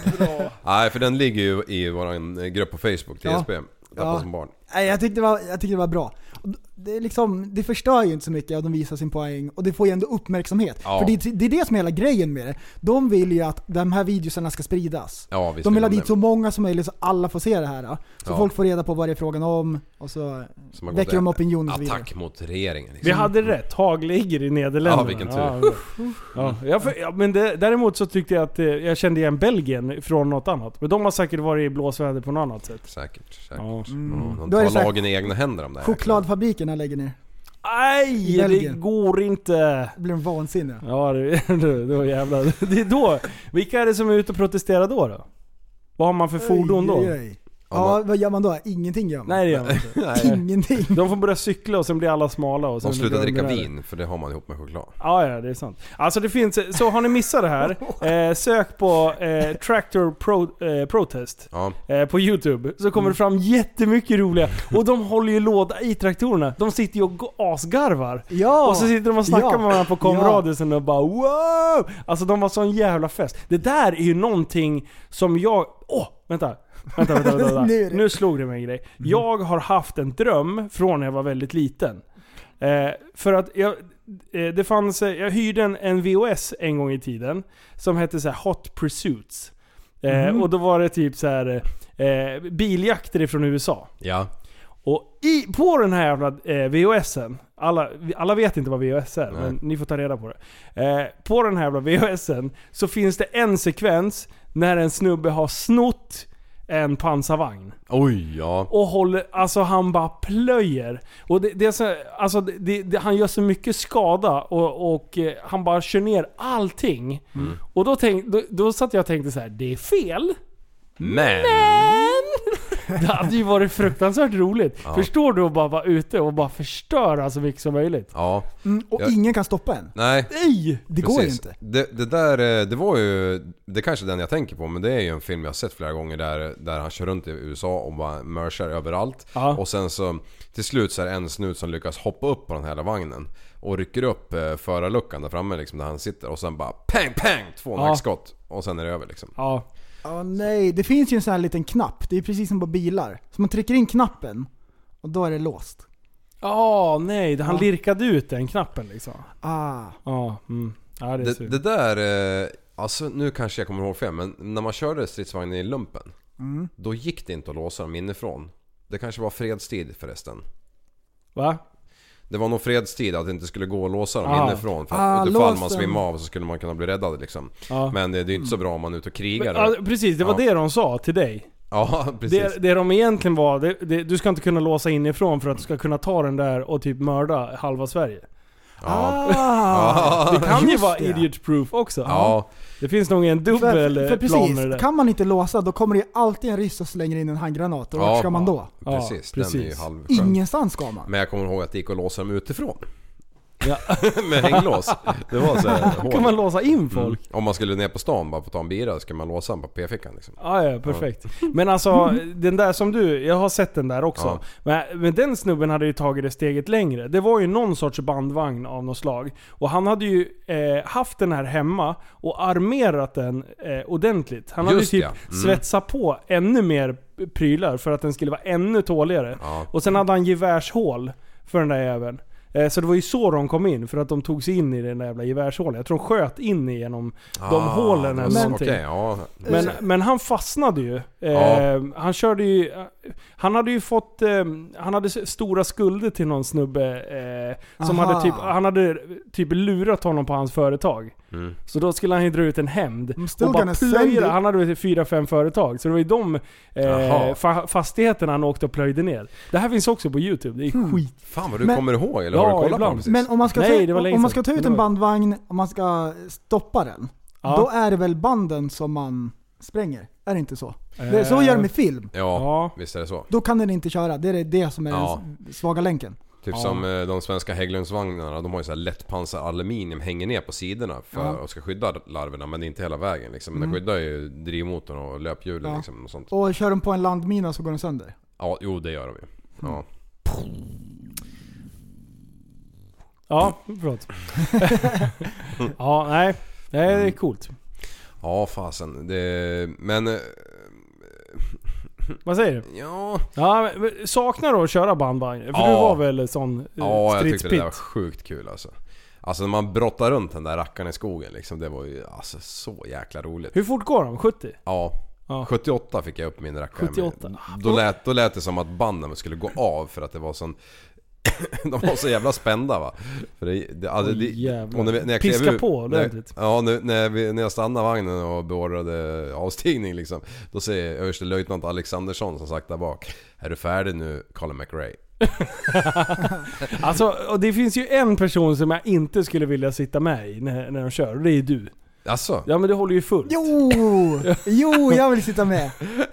Nej, för den ligger ju i vår eh, grupp på Facebook,
Ja.
TSB. Tappa
Ja.
som barn.
Nej, jag tyckte det var, jag tyckte det var bra. Och Det, är liksom, det förstör ju inte så mycket att de visar sin poäng och det får ju ändå uppmärksamhet.
Ja.
För det, det är det som är hela grejen med det. De vill ju att de här videosarna ska spridas.
Ja, visst
de vill ha
vill de
dit
det.
så många som möjligt så alla får se det här. Så
Ja.
folk får reda på vad det är frågan om och så
Som har gått
väcker de
i-
opinion och så vidare.
Attack mot regeringen liksom.
Vi hade rätt, Haag ligger i Nederländerna.
Ja, vilken tur.
Ja, ja. jag för, ja, men det, däremot så tyckte jag att eh, jag kände igen Belgien från något annat. Men de har säkert varit i blåsväder på något annat sätt.
Säkert, säkert.
Ja.
Mm. De
Då är det så
tar
här-
lagen i egna händer om det här.
Chokladfabrikerna lägger ner.
Nej,
I
det
Belgien.
går inte.
Då blir de vansinniga.
Ja, det, [LAUGHS] det, då jävlar. Det är då. Vilka är det som är ute och protesterar då? då? Vad har man för fordon då?
Oj, oj, oj.
liksom.
Ja, vad gör man då? Ingenting gör man.
Nej, det gör man inte. [LAUGHS]
Nej.
Ingenting.
De får börja cykla och sen blir alla smala och sen
De slutar
blir
dricka
bräda.
vin, för det har man ihop med choklad.
Ja, ja, det är sant. Alltså det finns, så har ni missat det
[LAUGHS]
här, eh, sök på eh, Tractor Pro, eh, Protest
Ja.
eh, på Youtube. Så
Mm.
kommer det fram jättemycket roliga. Och de håller ju låda i traktorerna. De sitter ju och go- asgarvar.
Ja!
Och så sitter de och snackar
Ja.
med varandra på komradisen och bara wow! Alltså de har sån jävla fest. Det där är ju någonting som jag... Åh! vänta. Vänta, vänta, vänta. vänta.
[LAUGHS] Nu är det- Mhm.
nu slog det mig en grej. Jag har haft en dröm från när jag var väldigt liten. Eh, för att jag... eh, Det fanns, eh, jag hyrde en, en VOS en gång i tiden som hette så här Hot Pursuits. Eh,
Mhm.
Och då var det typ så här eh, biljakter ifrån USA.
Ja.
Mm.
Och i, på den här jävla eh, VHSen, alla, vi- alla vet inte vad VHS är,
Nej.
men ni får ta reda på det. Eh, på den här jävla VHSen så finns det en sekvens när en snubbe har snott en pansarvagn.
Oj, ja.
Och håller, alltså han bara plöjer. Och det, det är så, alltså det- det, det, han gör så mycket skada och, och eh, han bara kör ner allting. Och då, tänk, då, då satt jag och tänkte så här: det är fel.
Men!
Det hade ju varit fruktansvärt roligt. Förstår du att bara vara ute och bara förstöra så mycket som möjligt?
Ja.
Mm, och
Jag-
ingen kan stoppa en.
Nej.
Nej!
Det går ju
Precis.
inte.
Det, det där, eh, det var ju, det kanske är den jag tänker på men det är ju en film jag har sett flera gånger där, där han kör runt i USA och bara mörsar överallt.
Ja.
Och sen så till slut så är det en snut som lyckas hoppa upp på den här jävla vagnen. Och rycker upp eh, förarluckan där framme liksom där han sitter och sen bara pang pang! Två
Ja.
nackskott. Och sen är det över liksom.
Ja.
Ja, nej. Det finns ju en sån här liten knapp. Det är precis som på bilar. Så man trycker in knappen och då är det låst.
Ja, nej. Han lirkade ut den knappen liksom.
Ah.
Ja, mm. ja det är
Det,
sur.
det där, eh, alltså nu kanske jag kommer ihåg fel men när man körde stridsvagnen i lumpen.
Mm.
Då gick det inte att låsa dem inifrån. Det kanske var fredstid förresten.
Va?
Det var nog fredstid att det inte skulle gå att låsa dem
Ah.
inifrån. För
Ah,
att utifall
lås
man
dem.
svimmade av så skulle man kunna bli räddad liksom.
Ja.
Men det, det är ju inte så bra om man är ute och krigar.
Men, ja, precis, det var
Ja.
det de sa till dig.
ja, [LAUGHS] precis.
Det, det de egentligen var, det, det, du ska inte kunna låsa inifrån för att du ska kunna ta den där och typ mörda halva Sverige. ah.
Ja. [LAUGHS]
Det kan ju
Ah. Just
vara
det.
idiot-proof också.
Ja.
Det finns nog en dubbel
För, för
eh, plan
precis,
med det där.
kan man inte låsa då kommer det ju alltid en ryss och slänger in en handgranat. Och
Ja.
vart ska man då?
Ja,
precis. Den är ju
Ah. precis.
halvskön.
Ingenstans ska man.
Men jag kommer ihåg att det gick att låsa dem utifrån.
Ja.
[LAUGHS] Med hänglås. Det var så
[LAUGHS]
här,
Kan
hål. Mm.
man låsa in folk?
Om man skulle ner på stan bara på att ta en bira så skulle man låsa den på p-fickan liksom.
Ja, ja, perfekt. Men alltså, den där som du, jag har sett den där också.
Ja.
Men, men den snubben hade ju tagit det steget längre. Det var ju någon sorts bandvagn av något slag. Och han hade ju eh, haft den här hemma och armerat den eh, ordentligt. Han hade ju
Just
typ
ja. Mm.
svetsat på ännu mer prylar för att den skulle vara ännu tåligare.
Ja.
Och sen hade han gevärshål för den där jäveln. Eh, Så det var ju så de kom in, för att de tog sig in i den där jävla gevärshålen. Jag tror de sköt in genom de
Ah,
hålen
det
eller
var-
någonting.
Okej, ja.
Men, men han fastnade ju. Eh,
Ja.
Han körde ju... Han hade ju fått... Eh, han hade s- stora skulder till någon snubbe eh, som
Aha.
hade typ... Han hade typ lurat honom på hans företag.
Mm.
Så då skulle han ju dra ut en hämnd.
I'm still
Och bara
gonna send you.
plöja. Han hade väl fyra, fem företag. Så det var ju de eh,
Jaha.
fa- fastigheterna han åkte och plöjde ner. Det här finns också på Youtube. Det
Hmm.
är
Mm.
skit.
Fan vad du
Men-
kommer ihåg eller
Ja,
har du kollat på
ibland.
den precis?
Men om man ska,
Nej, det
ta,
var länge
om man
sedan.
ska ta ut
Men
en
det var-
bandvagn och man ska stoppa den.
Ja.
Då är det väl banden som man spränger? Är det inte så? Det, så
Eh.
gör de med film.
Ja,
Ja.
visst är det så.
Då kan den inte köra. Det är det som är
Ja.
den s- svaga länken.
Typ som eh, de svenska Hägglundsvagnarna, de har ju så här lättpansar aluminium hänger ner på sidorna för
Ja.
och ska skydda larverna men det är inte hela vägen liksom. Men de skyddar ju drivmotorn och löphjulen
Ja.
liksom och sånt.
Och kör de på en landmina så går
[LAUGHS]
den sönder.
Ja, jo det gör de ju. Ja.
Ja, förlåt. [LAUGHS] ja, nej. Nej, det är coolt.
Ja fasen. Det, men... eh,
Vad säger du?
Ja...
Ja, men saknar du att köra bandvagn? För
Ja.
du var väl sån eh,
Ja, jag tyckte det
stridspitt?
där var sjukt kul alltså. Alltså när man brottar runt den där rackaren i skogen liksom. Det var ju alltså så jäkla roligt.
Hur fort går de? 70?
Ja.
Ja.
78 fick jag upp min rackare. med.
78.
Då lät, då lät det som att banden skulle gå av för att det var sån... [LAUGHS] De var så jävla spända va. För det, det, alltså,
Oj,
det,
jävlar.
och när vi, när jag klev
Piska
ur-
på
när,
ordentligt.
Ja, när, när, vi, när jag stannade vagnen och beordrade avstigning liksom. Då säger överstelöjtnant Alexandersson som sagt där bak. Är du färdig nu Colin McRae?
Alltså, och det finns ju en person som jag inte skulle vilja sitta med i när, när de kör, och det är du.
Alltså, [LAUGHS]
Ja men du håller ju fullt.
Jo! Jo, jag vill sitta med.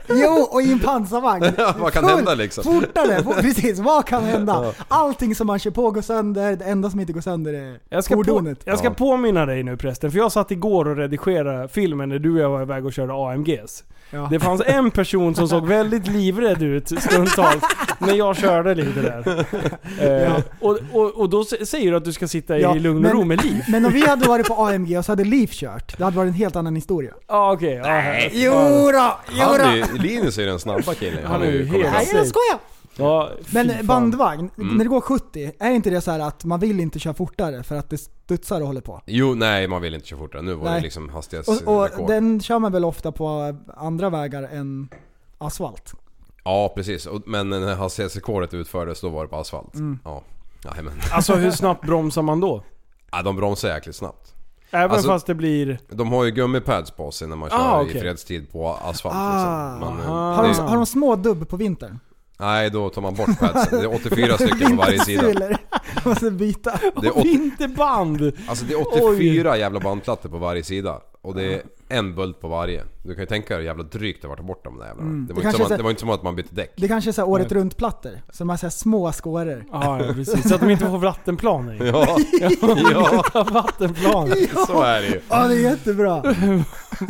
Jo, och i en pansarvagn.
vad kan
Full-
hända liksom? [LAUGHS]
Fortare! fort- Precis, vad kan hända? Allting som man kör på går sönder, det enda som inte går sönder är
Jag ska, på,
fordonet.
jag ska
Ja.
påminna dig nu prästen, för jag satt igår och redigerade filmen när du och jag var iväg och körde AMGs.
Ja.
Det fanns en person som såg väldigt livrädd ut stundtals när jag körde lite där. Eh, och, och, och då s- säger du att du ska sitta
Ja,
i lugn och
men-
ro med Liv?
[LAUGHS] Men om vi hade varit på AMG och så hade Liv kört, det hade varit en helt annan historia.
Ja okej. ja, här.
Jodå,
han är, ju- Linus är ju den snabba killen.
Han är ju
kommer-
helt-
Nej, jag skojar!
Ja, fy fan. Mm.
Men bandvagn, när det går 70, är inte det så här att man vill inte köra fortare för att det studsar och håller på?
Jo, nej man vill inte köra fortare. Nu var det
Nej.
liksom
Och, och
hastighetsrekord.
den kör man väl ofta på andra vägar än asfalt?
Ja, precis. Och- Men när hastighetsrekordet utfördes, då var det på asfalt.
Mm.
Ja. Nej, men. [LAUGHS]
Alltså hur snabbt bromsar man då?
Ja, de bromsar jäkligt snabbt.
Även
Alltså-
fast det blir...
De har ju gummipads på sig när man kör
Ah, okej.
i fredstid på asfalt.
Ah.
liksom. Man,
Aha.
eh,
Har de,
det,
har de små dubb på vintern?
nej, då tar man bort padsen. Det är
[LAUGHS]
84 stycken på varje sida.
Vintersulor. [LAUGHS] Måste byta.
[LAUGHS]
Det är, åt-
Vinterband!
alltså, det är 84 jävla bandplattor på varje sida. Och det är en bult på varje. Du kan ju tänka dig hur jävla drygt det var att ta bort de där jävlarna. Det, var
Mm. Det
inte
kanske
som att,
är så-
det var inte som att man bytte
[LAUGHS]
däck.
Det kanske är så här året runt-plattor, som är så här små skåror.
Ja, ja precis. Så att de inte får vattenplan i.
Ja, [LAUGHS] ja,
[LAUGHS] Vattenplan.
[LAUGHS] så är det ju.
Ja, det är jättebra.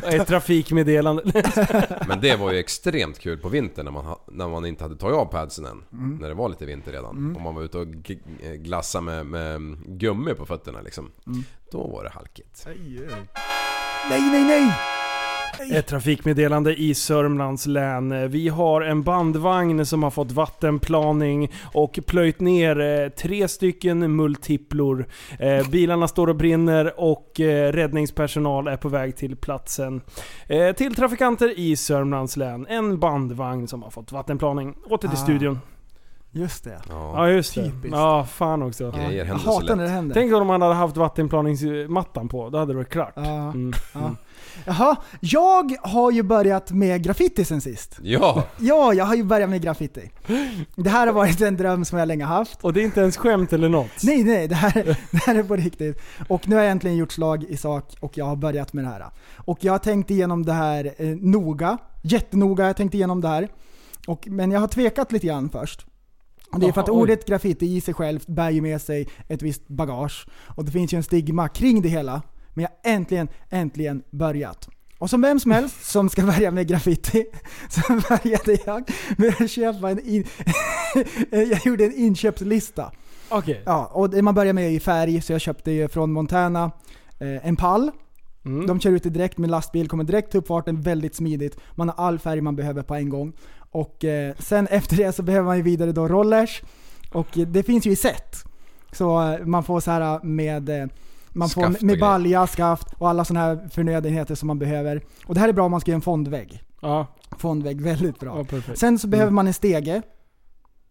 Ett trafikmeddelande.
Men det var ju extremt kul på vintern när man, ha- när man inte hade tagit av padsen än. När det var lite vinter redan. Och man var ute och g- eh, glassade med, med gummi på fötterna liksom. Då var det halkigt.
Nej, nej, nej!
Ett trafikmeddelande i Sörmlands län. Vi har en bandvagn som har fått vattenplaning och plöjt ner eh, tre stycken multiplor. Eh, Bilarna står och brinner och eh, räddningspersonal är på väg till platsen. Eh, Till trafikanter i Sörmlands län. En bandvagn som har fått vattenplaning. Åter till
Ah.
studion.
Just det.
Ja,
Ja just det.
typiskt.
Ja, fan också.
grejer
Jag
händer så
hatar när
lätt.
det händer.
Tänk om man hade haft vattenplaningsmattan på. Då hade det varit klart.
Ja.
Mm.
Jaha, jag har ju börjat med graffiti sen sist.
Ja,
Ja, jag har ju börjat med graffiti. Det här har varit en dröm som jag länge haft.
Och det är inte ens skämt eller något.
Nej, nej, det här, [LAUGHS] det här är på riktigt. Och nu har jag äntligen gjort slag i sak och jag har börjat med det här. Och jag har tänkt igenom det här eh, noga, jättenoga. Jag har tänkt igenom det här. Och, men jag har tvekat lite grann först. Och Det är för att
Jaha, oj.
ordet graffiti i sig självt bär ju med sig ett visst bagage. Och det finns ju en stigma kring det hela. Men jag har äntligen, äntligen börjat. Och som vem som helst som ska [LAUGHS] börja med graffiti [LAUGHS] så började jag med att köpa en... In- [LAUGHS] jag gjorde en inköpslista.
Okej.
Ja, och det man börjar med är ju färg, så jag köpte ju från Montana eh, en pall.
Mm.
De kör ut det direkt med lastbil, kommer direkt till uppfarten väldigt smidigt. Man har all färg man behöver på en gång. Och eh, sen [LAUGHS] efter det så behöver man ju vidare då rollers. Och eh, det finns ju i set. Så eh, man får så här med eh, man
Skaft
får
och
med
grejer.
balja, skaft och alla sådana här förnödenheter som man behöver. Och det här är bra om man ska göra en fondvägg.
Ja,
Fondvägg, väldigt bra.
ja, perfekt.
Sen så behöver man en stege.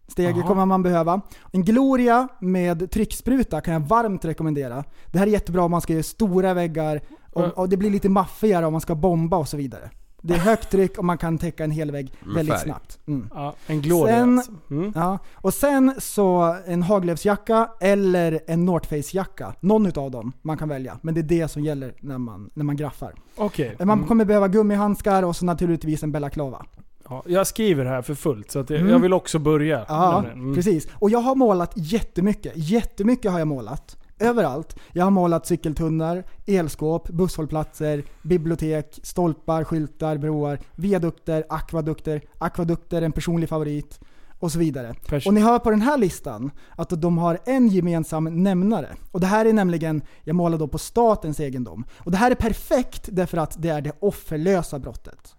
Stege
Jaha.
kommer man behöva. En Gloria med tryckspruta kan jag varmt rekommendera. Det här är jättebra om man ska göra stora väggar
Ja.
och, och det blir lite maffigare om man ska bomba och så vidare. Det är högt tryck och man kan täcka en hel vägg
Med
väldigt
färg.
snabbt. Mm.
Ja, en gloria
Sen-
alltså. mm.
Ja. Och sen så en Haglöfsjacka eller en North Face-jacka. Någon utav dem man kan välja. Men det är det som gäller när man, när man graffar.
Okej.
Man
Mm.
kommer behöva gummihandskar och så naturligtvis en balaklava.
Ja, jag skriver här för fullt så att jag,
Mm.
jag vill också börja.
Ja,
Mm.
precis. Och jag har målat jättemycket. Jättemycket har jag målat. Överallt. Jag har målat cykeltunnlar, elskåp, busshållplatser, bibliotek, stolpar, skyltar, broar, viadukter, akvadukter, akvadukter, en personlig favorit och så vidare.
Pers-
Och ni hör på den här listan att de har en gemensam nämnare. Och det här är nämligen, jag målar då på statens egendom. Och det här är perfekt därför att det är det offerlösa brottet.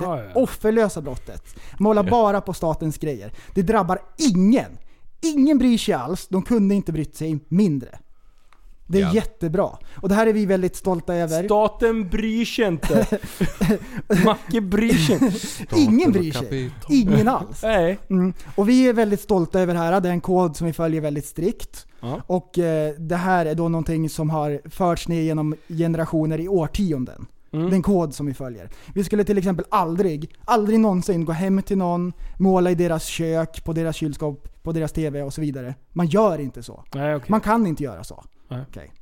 Det
Ah, ja.
offerlösa brottet. Måla bara på statens grejer. Det drabbar ingen. Ingen bryr sig alls. De kunde inte brytt sig mindre. Det är
Ja.
jättebra. Och det här är vi väldigt stolta över.
Staten bryr sig inte.
[LAUGHS]
Macke bryr sig inte.
Ingen bryr sig. Ingen alls.
Nej.
Mm. Och vi är väldigt stolta över det här. Det är en kod som vi följer väldigt strikt.
Ja.
Och eh, det här är då någonting som har förts ner genom generationer i årtionden.
Mm.
Det är en kod som vi följer. Vi skulle till exempel aldrig, aldrig någonsin gå hem till någon, måla i deras kök, på deras kylskåp, på deras TV och så vidare. Man gör inte så.
Nej, okej.
Man kan inte göra så.
Nej.
Okej.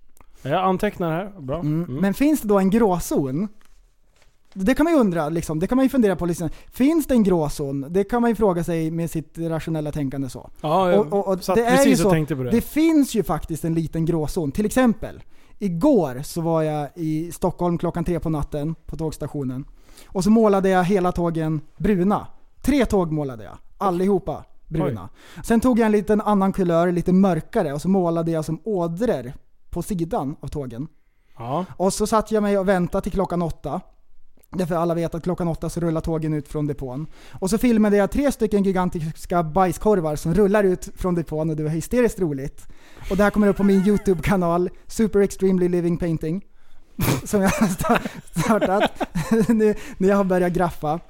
Jag antecknar här. Bra.
Mm.
Mm.
Men finns det då en gråzon? Det kan man ju undra, liksom. det kan man ju fundera på. Liksom. Finns det en gråzon? Det kan man ju fråga sig med sitt rationella tänkande så.
Ja, jag
Och- och- och
satt
det är
precis
ju
och
så-
tänkte på det.
Det finns ju faktiskt en liten gråzon. Till exempel, igår så var jag i Stockholm klockan tre på natten på tågstationen. Och så målade jag hela tågen bruna. Tre tåg målade jag. Allihopa bruna. Sen tog jag en liten annan kulör, lite mörkare, och så målade jag som ådror på sidan av tågen.
Ja.
Och så satt jag mig och väntade till klockan åtta. Därför alla vet att klockan åtta så rullar tågen ut från depån. Och så filmade jag tre stycken gigantiska bajskorvar som rullar ut från depån och det var hysteriskt roligt. Och det här kommer upp på min YouTube-kanal, Super Extremely Living Painting. [LAUGHS] Som jag har sta- startat [LAUGHS] nu när jag har börjat graffa.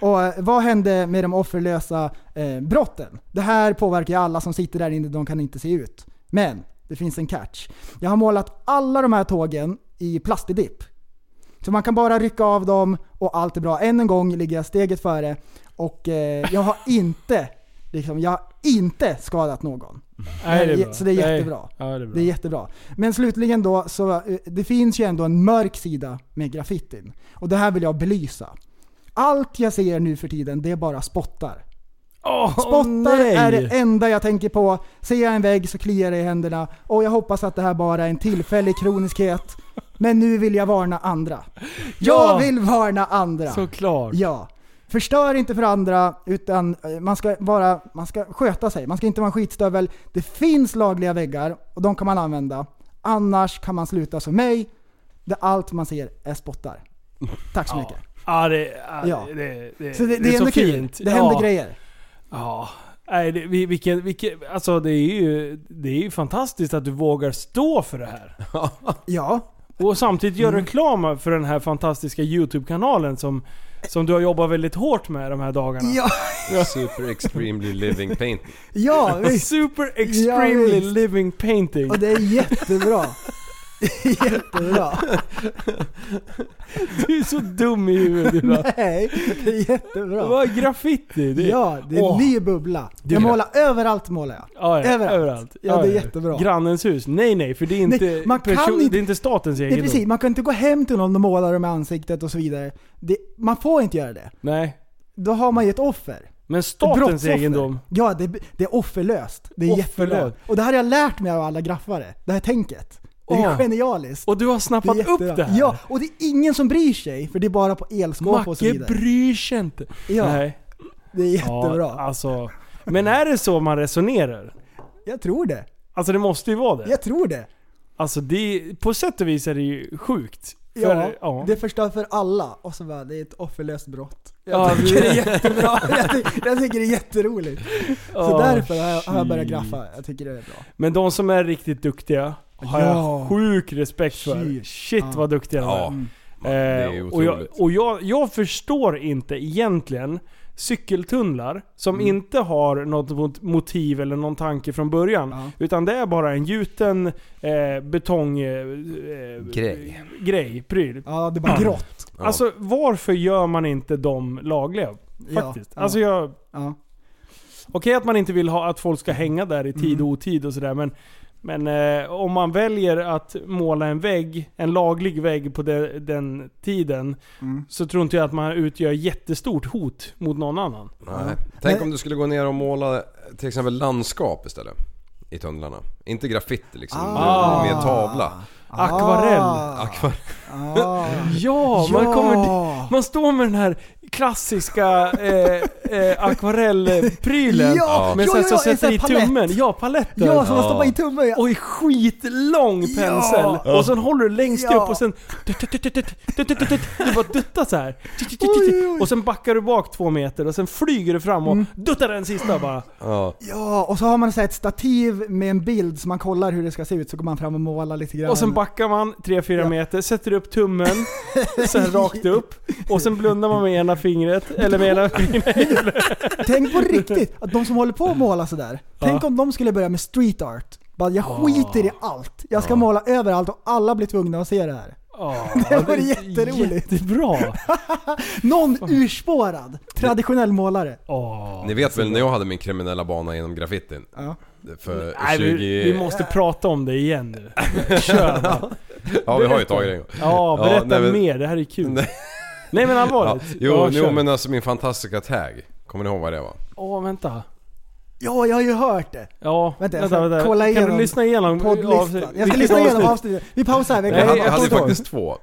Och eh, vad hände med de offerlösa eh, brotten? Det här påverkar ju alla som sitter där inne, de kan inte se ut. Men, det finns en catch. Jag har målat alla de här tågen i plastidipp. Så man kan bara rycka av dem och allt är bra. Än en gång ligger jag steget före och eh, jag har inte, liksom, jag har inte skadat någon.
Nej, det är
Nej,
bra.
så det är
Nej.
jättebra.
Ja, det är bra.
Det är jättebra. Men slutligen då, så, eh, det finns ju ändå en mörk sida med graffitin. Och det här vill jag belysa. Allt jag ser nu för tiden, det är bara spottar.
Åh,
Spottar
nej.
är det enda jag tänker på. Ser jag en vägg så kliar det i händerna. Och jag hoppas att det här bara är en tillfällig kroniskhet. Men nu vill jag varna andra. Jag
Ja.
vill varna andra.
Såklart.
Ja. Förstör inte för andra, utan eh, man ska, vara, man ska sköta sig. Man ska inte vara en skitstövel. Det finns lagliga väggar och de kan man använda. Annars kan man sluta som mig, där allt man ser är spottar. Tack så mycket.
Ja, det, ja,
Ja.
det, det, det,
Så det, det är,
så
ändå kul.
fint.
Det händer
ja.
grejer.
Ja. Nej, det, vi- vilken, vilken, alltså det är, ju, det är ju fantastiskt att du vågar stå för det här.
Ja, Mm.
Och samtidigt gör reklam för den här fantastiska YouTube-kanalen som, som du har jobbat väldigt hårt med de här dagarna.
ja,
Super extremely living paint.
ja visst.
Super extremely
visst.
living painting.
Och det är jättebra. jättebra.
[LAUGHS] Du är så dum i huvudet Julia.
[LAUGHS] Nej, det är jättebra.
Det var graffiti. Det,
Ja, det är en
Åh.
ny bubbla.
Du-
Jag målar överallt målar jag.
Ja, ja,
överallt. Ja, det är jättebra.
Grannens hus. Nej, nej, för det är inte,
Nej, man kan
person-
inte-
Det är inte statens
Det
egendom.
är precis, man kan inte gå hem till någon och måla dem i ansiktet och så vidare. Det, man får inte göra det.
Nej.
Då har man ju ett offer.
Men
Ett
statens
brottsoffer.
egendom.
Ja, det, det är offerlöst. Det är jättebra.
Offerlöst.
Och det här har jag lärt mig av alla graffare. Det här tänket. Det är
Åh.
genialiskt.
Och du har
Det är
snappat
jättebra.
upp det här.
Ja, och det är ingen som bryr sig. För det är bara på elskåp och så
Macke
vidare.
bryr sig inte.
Ja,
Nej.
det är jättebra.
Ja, alltså. Men är det så man resonerar?
Jag tror det.
Alltså det måste ju vara det.
Jag tror det.
Alltså det, på sätt och vis är det ju sjukt. För,
Ja,
ja. ja.
det förstör för alla. Och så bara, det är ett offerlöst brott.
Ja,
Jag tycker det är jättebra. [LAUGHS] Jag tycker, jag tycker det är jätteroligt. Så
Åh,
därför har jag, har jag börjat
shit.
graffa. Jag tycker det är bra.
Men de som är riktigt duktiga har
Ja.
jag sjuk respekt för.
Shit.
Shit
Ja.
vad duktiga de är.
Ja, det
Eh,
är ju
och jag,
otroligt.
och jag, jag förstår inte egentligen cykeltunnlar som
Mm.
inte har något mot- motiv eller någon tanke från början.
Ja.
Utan det är bara en gjuten eh, betong... Eh, eh,
Grej.
Grej, pryl.
Ja, det är bara grått.
Ja.
Alltså varför gör man inte dem lagliga?
Ja,
Faktiskt.
ja.
Alltså jag...
Ja. Mm.
Okej att man inte vill ha att folk ska hänga där i tid och otid och sådär men Men eh, om man väljer att måla en vägg, en laglig vägg på de, den tiden,
Mm.
så tror inte jag att man utgör jättestort hot mot någon annan.
Nej.
Ja.
Tänk
Men-
om du skulle gå ner och måla till exempel landskap istället. I tunnlarna. Inte graffiti liksom,
Ah.
med tavla.
Akvarell.
Akvarell.
Ah.
Ja, man kommer... Man står med den här klassiska eh, eh, akvarellprylen.
Ja,
men
ja,
sen
ja,
så
ja,
sätter
en
i
sån här
tummen.
palett.
Ja, paletten.
Ja, som man
Ja.
stoppar i tummen ja.
Och i skitlång
Ja.
pensel. Och sen håller du längst
Ja.
upp och sen... Du bara duttar så här.
oj, oj. Mm.
Och sen backar du bak två meter och sen flyger du fram och duttar den sista bara.
Ja.
Ja, och så har man så här ett stativ med en bild så man kollar hur det ska se ut så går man fram och målar lite grann.
Och sen backar man 3-4
Ja.
meter, sätter upp tummen,
[LAUGHS]
sen rakt upp. Och sen blundar man med ena fingret, eller med ena
[LAUGHS]
fingret.
Tänk på riktigt, att de som håller på att måla sådär. Tänk om de skulle börja med street art. Bara, jag skiter i allt. Jag ska måla överallt och alla blir tvungna att se det här.
Ja,
Det vore jätteroligt.
Jättebra!
Någon urspårad traditionell målare.
Åh.
Ni vet väl när jag hade min kriminella bana genom graffitin?
Ja.
För
Nej,
20...
vi, vi måste prata om det igen nu.
[LAUGHS]
Kör bara.
Ja vi har ju tagit det en gång.
Ja,
Ja,
berätta
nej, men-
mer. Det här är kul. Nej,
Nej.
men
Ja.
allvarligt.
Jo,
Ja, kör.
jo men alltså min fantastiska tag. Kommer ni ihåg vad det var?
Åh, vänta.
Ja, jag har ju hört det.
Ja,
Vänta,
vänta,
jag
vänta,
ska kolla
Kan
igenom
du lyssna igenom
Poddlistan.
avsnitt-
Jag ska
alltså, vilket
lyssna igenom
avsnitt?
avsnitt. Vi pausar här. Vi
Jag
Nej,
kan
hade,
jag
jag hade
kommer inte
faktiskt två.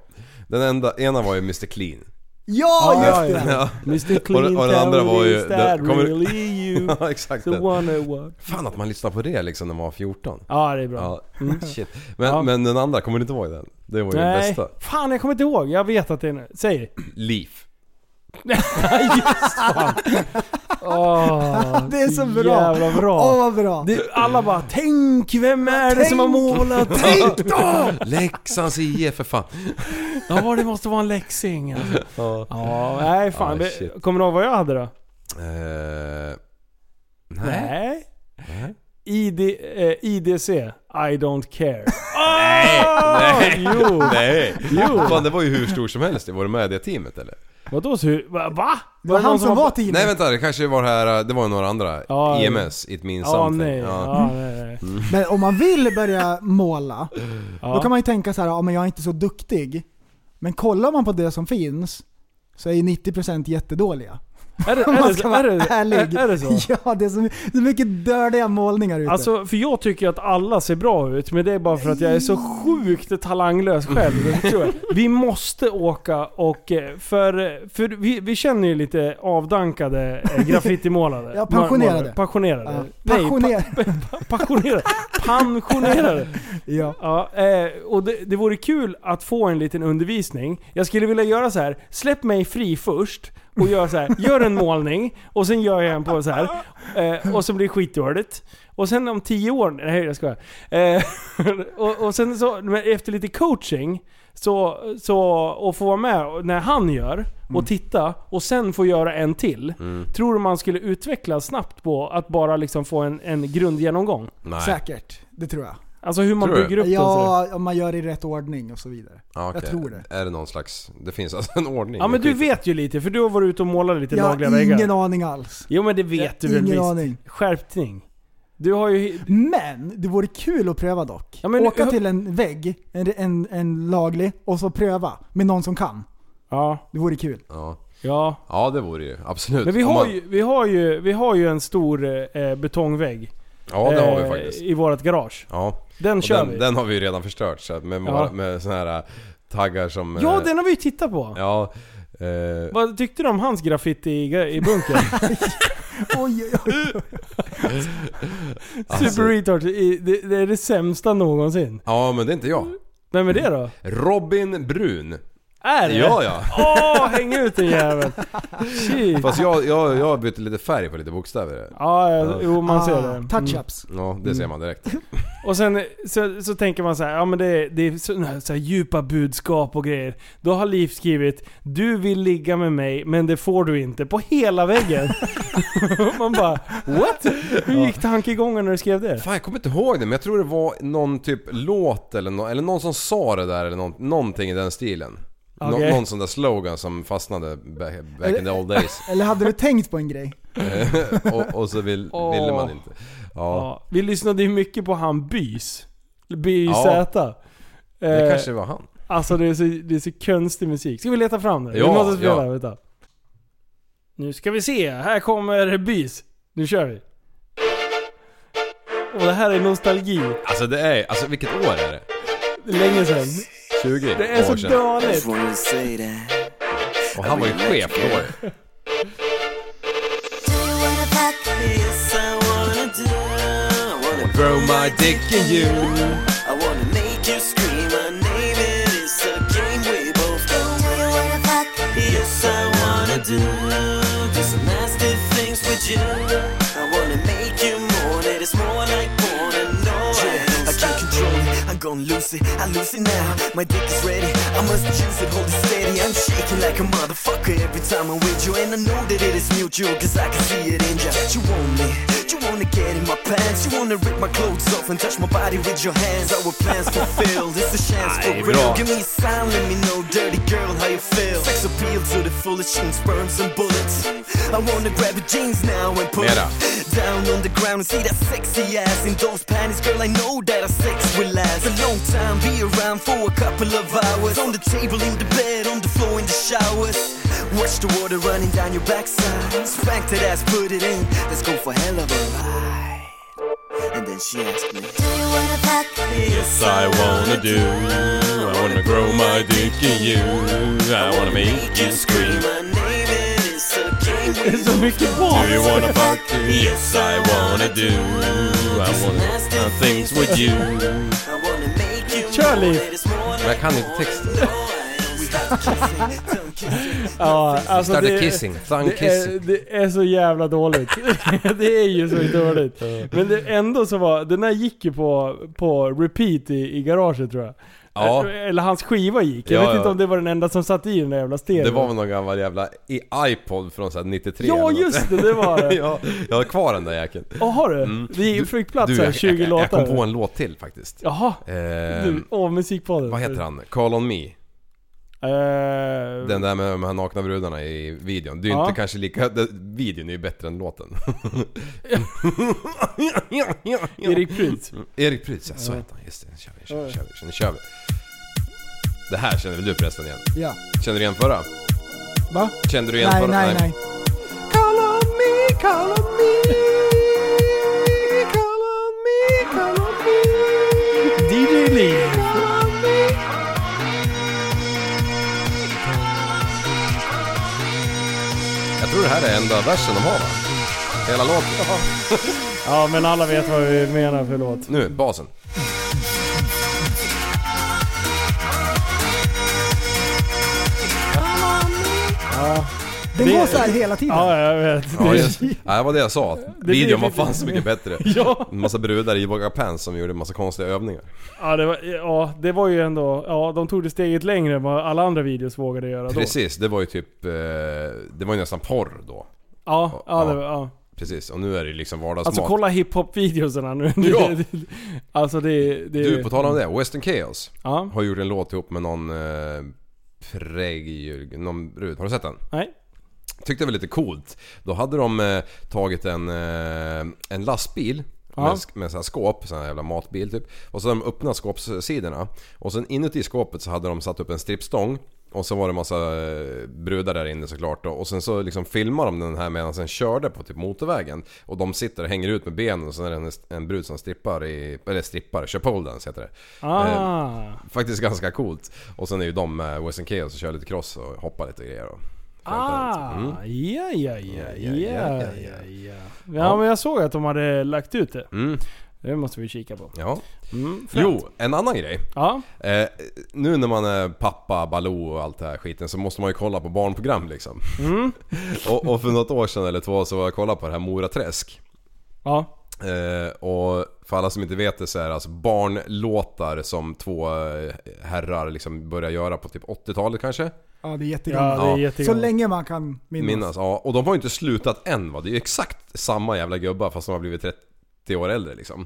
Den enda, ena var ju Mr Clean.
Ja,
[LAUGHS] Ja,
just det.
Ja,
Mr Clean
Och den- och den andra var ju-
Is that
den- kommer-
really you?
[LAUGHS] ja exakt
The
den.
one who was-
Fan att man lyssnade på det liksom när man var 14.
Ja, det är bra.
Ja,
[LAUGHS] Mm.
shit. Men,
Ja.
men den andra, kommer du inte ihåg den? Det var ju den
Nej,
bästa.
fan jag kommer inte ihåg. Jag vet att det är en...
[LAUGHS]
Säg. [LAUGHS]
Leaf.
Just fan. Åh,
Det är så bra.
Jävla bra.
Åh, vad bra.
Det, alla bara 'Tänk, vem är det som har
[LAUGHS]
målat?' Tänk då!
Leksands IF för fan.
Ja, det måste vara en leksing. Alltså.
Ja.
Ja, nej fan.
Ah,
Vi-
shit.
Kommer du ihåg vad jag hade då?
Eh, nej.
Nej.
Nej.
ID, eh, IDC, I don't
[LAUGHS]
care. nej! Jo!
Nej.
Ah. [LAUGHS] Jo.
Fan det var ju hur stor som helst. Var du med i det teamet eller?
Vadå så hur- va? va?
Det var
det någon
han som var teamet.
Nej vänta, det kanske var det här, eh, det var ju några andra.
Ja,
EMS, It means
Ja,
something.
nej.
Ja.
Ja, nej, nej.
Men om man vill börja måla,
Ja.
då kan man ju tänka så här, ja men jag är inte så duktig. Men kollar man på det som finns, så är ju 90% jättedåliga.
[LAUGHS] Är det,
Om
är
[LAUGHS] man
det,
ska
så,
vara
är det,
ärlig.
är, är det så?
[LAUGHS] Ja, det är så, my- så mycket dördiga målningar ute.
Alltså, för jag tycker att alla ser bra ut, men det är bara för att jag är så sjukt talanglös
[LAUGHS]
själv. tror jag. Vi måste åka och... eh, För, för vi, vi känner ju lite avdankade
[LAUGHS]
eh, graffitimålare.
Ja, pensionerade.
Målare. Passionerade.
Ja.
Nej, pa- [LAUGHS]
Passioner.
passionerade. Pensionerade.
ja.
Ja, eh, och det, det vore kul att få en liten undervisning. Jag skulle vilja göra så här. släpp mig fri först och gör så här.
[LAUGHS]
gör en målning och sen gör jag en på så här. Eh, och så blir det skitdåligt. Och sen om tio år, nej jag skojar. Eh, [LAUGHS] och, och sen så, men efter lite coaching, så, så, och få vara med när han gör och
Mm.
titta och sen få göra en till. Tror du man skulle utvecklas snabbt på att bara liksom få en, en grundgenomgång?
Nej.
Säkert, det tror jag.
Alltså hur man
Tror du?
bygger upp den. sådär.
Ja, om man gör det i rätt ordning och så vidare.
Ja, okej.
Jag tror det.
Är det någon slags, det finns alltså en ordning.
Ja men du
Skit.
vet ju lite, för du har varit ute och målat lite
Jag
lagliga
har
väggar.
ingen aning alls.
Jo men det vet du väl
ingen
visst.
aning.
Skärpning. Du har ju...
Men det vore kul att pröva dock.
Ja, men-
Åka till en vägg, en, en, en laglig, och så pröva med någon som kan.
Ja.
Det
[LAUGHS]
vore kul.
Ja.
Ja.
ja det vore ju, absolut.
Men vi
Om
har,
man-
ju, vi, har ju, vi har ju en stor eh, betongvägg.
Ja det har vi
eh,
faktiskt.
I vårt garage.
Ja.
Den
Och
kör
den,
vi.
den har vi ju redan förstört så att med,
Ja.
våra- med såna här äh, taggar som...
ja
eh,
den har vi ju tittat på.
Ja, eh,
Vad tyckte du om hans graffiti i, i bunkern?
Oj, oj, oj.
[LAUGHS] Alltså-
Super retard. I, det, det är det sämsta någonsin.
ja men det är inte jag.
Vem är det då?
Robin Brun.
Är det?
Ja ja.
Åh, häng ut den
[LAUGHS]
jäveln. Shit.
Fast jag, jag, jag bytte lite färg på lite bokstäver.
Ja, ja, jo man ser
Ah,
det. Mm.
Touch-ups.
Ja, det ser man direkt.
Och sen så, så tänker man så här, ja men det, är- det är såna här, så här djupa budskap och grejer. Då har Liv skrivit Du vill ligga med mig men det får du inte på hela väggen. [LAUGHS] man bara What? Hur gick tankegången när du skrev det?
Fan jag kommer inte ihåg det men jag tror det var någon typ låt eller, nå eller någon som sa det där eller nå- någonting i den stilen. Nå-
Okej.
någon sån där slogan som fastnade back, back in the
[LAUGHS]
old days. [LAUGHS]
Eller hade du tänkt på en grej?
och, och så vill,
Åh.
ville man inte. Ja,
Ja. Vi lyssnade ju mycket på han Bys. By
Ja.
Z.
det
Eh,
kanske var han.
Alltså det är, så, det är så konstig musik. Ska vi leta fram det?
Ja,
vi måste spela,
ja.
vänta. Nu ska vi se, här kommer Bys. Nu kör vi. Och det här är nostalgi.
Alltså det är, alltså vilket år är det?
Länge sedan.
20
Det är
år
så
sedan.
dåligt.
Och han var ju chef då Grow my dick in you
I can't control it, I'm gonna lose it, I lose it now. My dick is ready, I must choose it, hold it steady. I'm shaking like a motherfucker every time I'm with you, and I know that it is mutual, cause I can see it in ya. You want me, you wanna get in my pants, you wanna rip my clothes off and touch my body with your hands. Our [LAUGHS] plans fulfilled, it's a chance for
Aye,
real.
bra.
Give me a sign, let me know, dirty girl, how you feel. Sex appeal to the fullest, and sperms and bullets. I wanna grab your jeans now and put
Mera.
it down on the ground and see that sexy ass in those panties, girl. I know that our sex will last a long time. Be around for a couple of hours on the table, in the bed, on the floor, in the showers. Watch the water running down your backside. Spank that ass, put it in. Let's go for hell of a ride. And then she asked me, Do you wanna fuck me?
Yes I wanna do I wanna grow my dick in you I wanna make you scream
My name is a game
Det är så mycket bas.
Do you wanna fuck Yes I wanna do I wanna do things with you
I wanna make you
Kör Liv.
Men jag kan inte texten
Ja, alltså
Started
det,
kissing, thang
det, är,
kissing
det är så jävla
[LAUGHS]
dåligt. det är ju så dåligt. Men det ändå så var, den där gick ju på, på repeat i, i garaget tror jag.
Ja.
Eller hans skiva gick. Jag
Ja,
vet
ja.
inte om det var den enda som satt i den där jävla stereon.
Det var väl någon gammal jävla i- iPod från såhär 93 eller
Ja
något.
just det, det var det.
[LAUGHS] ja, jag har kvar den där jäkeln
Åh har du? Det är
Mm. Du-
flygplats
du,
här,
jag-
20
jag, jag,
låtar.
jag kom på en låt till faktiskt
Jaha.
Ehm,
Du, åh musikpodden.
Vad heter han? Call on me?
Eh,
Den där med de här nakna brudarna i videon. Det är ju
Ja.
inte kanske lika... det- Videon är ju bättre än låten.
[LAUGHS] Erik Prytz.
[LAUGHS] Erik Prytz, ja, så heter han. Just det, nu kör vi, kör vi, kör vi, nu kör vi. Det här känner väl du förresten igen?
Ja.
Känner du igen förra?
Va?
Kände du igen
Nej,
förra?
nej, nej.
Call on me, call on me, call on me, call on me.
DJ Lee.
Jag tror det här är enda versen de har va? Hela låten.
Ja men alla vet vad vi menar för låt.
Nu, basen.
Den
Det-
går såhär hela tiden.
Ja jag vet.
Ja, just, ja, det var det jag sa. Videon var fan så mycket bättre.
[LAUGHS] Ja.
En massa brudar i yoga-pants som gjorde en massa konstiga övningar.
[LAUGHS] Ja det, var, ja, det var ju ändå... Ja, de tog det steget längre än vad alla andra videos vågade göra då.
Precis, det var ju typ... eh, Det var ju nästan porr då.
Ja, ja, det
Ja.
var, ja.
Precis, och nu är det ju liksom vardagsmat.
Alltså kolla hiphop-videosarna nu. [LAUGHS]
Ja.
alltså det... det
Du, på tal om det. Western Chaos
Ja,
har gjort en låt ihop med någon... eh, Präg... Någon brud. Har du sett den?
nej.
Tyckte det var lite coolt. Då hade de eh, tagit en, eh, en lastbil
Ja.
med, med sån här skåp, sån här jävla matbil typ. Och så hade de öppnat skåpssidorna. Och sen inuti skåpet så hade de satt upp en strippstång. Och så var det massa eh, brudar där inne såklart då. Och sen så liksom filmade de den här medan den körde på typ motorvägen. Och de sitter och hänger ut med benen och sen är det en, en brud som strippar i... Eller strippar, kör pole dance heter det. Eh,
Ah.
Faktiskt ganska coolt. Och sen är ju de med Western Chaos och kör lite cross och hoppar lite och grejer då.
Ah, ja, ja, ja,
Mm. Ja,
ja,
ja,
ja,
ja,
ja,
ja.
Ja, men jag såg att de hade lagt ut det.
Mm.
Det måste vi kika på.
Ja.
Mm, fränt.
Jo, en annan grej.
Ja,
Eh, nu när man är pappa, Baloo och allt det här skiten så måste man ju kolla på barnprogram liksom. [LAUGHS] och, och för något år sedan eller två så var jag och kollade på det här Mora Träsk.
ja.
Eh, och för alla som inte vet det så är det alltså barnlåtar som två eh, herrar liksom börjar göra på typ 80-talet kanske.
Ja, det är
Ja,
jättegammalt.
det är
Ja.
Så
jättegammalt.
länge man kan minnas.
Minnas. Ja, och de har ju inte slutat än va. Det är ju exakt samma jävla gubbar fast de har blivit 30 30 år äldre liksom.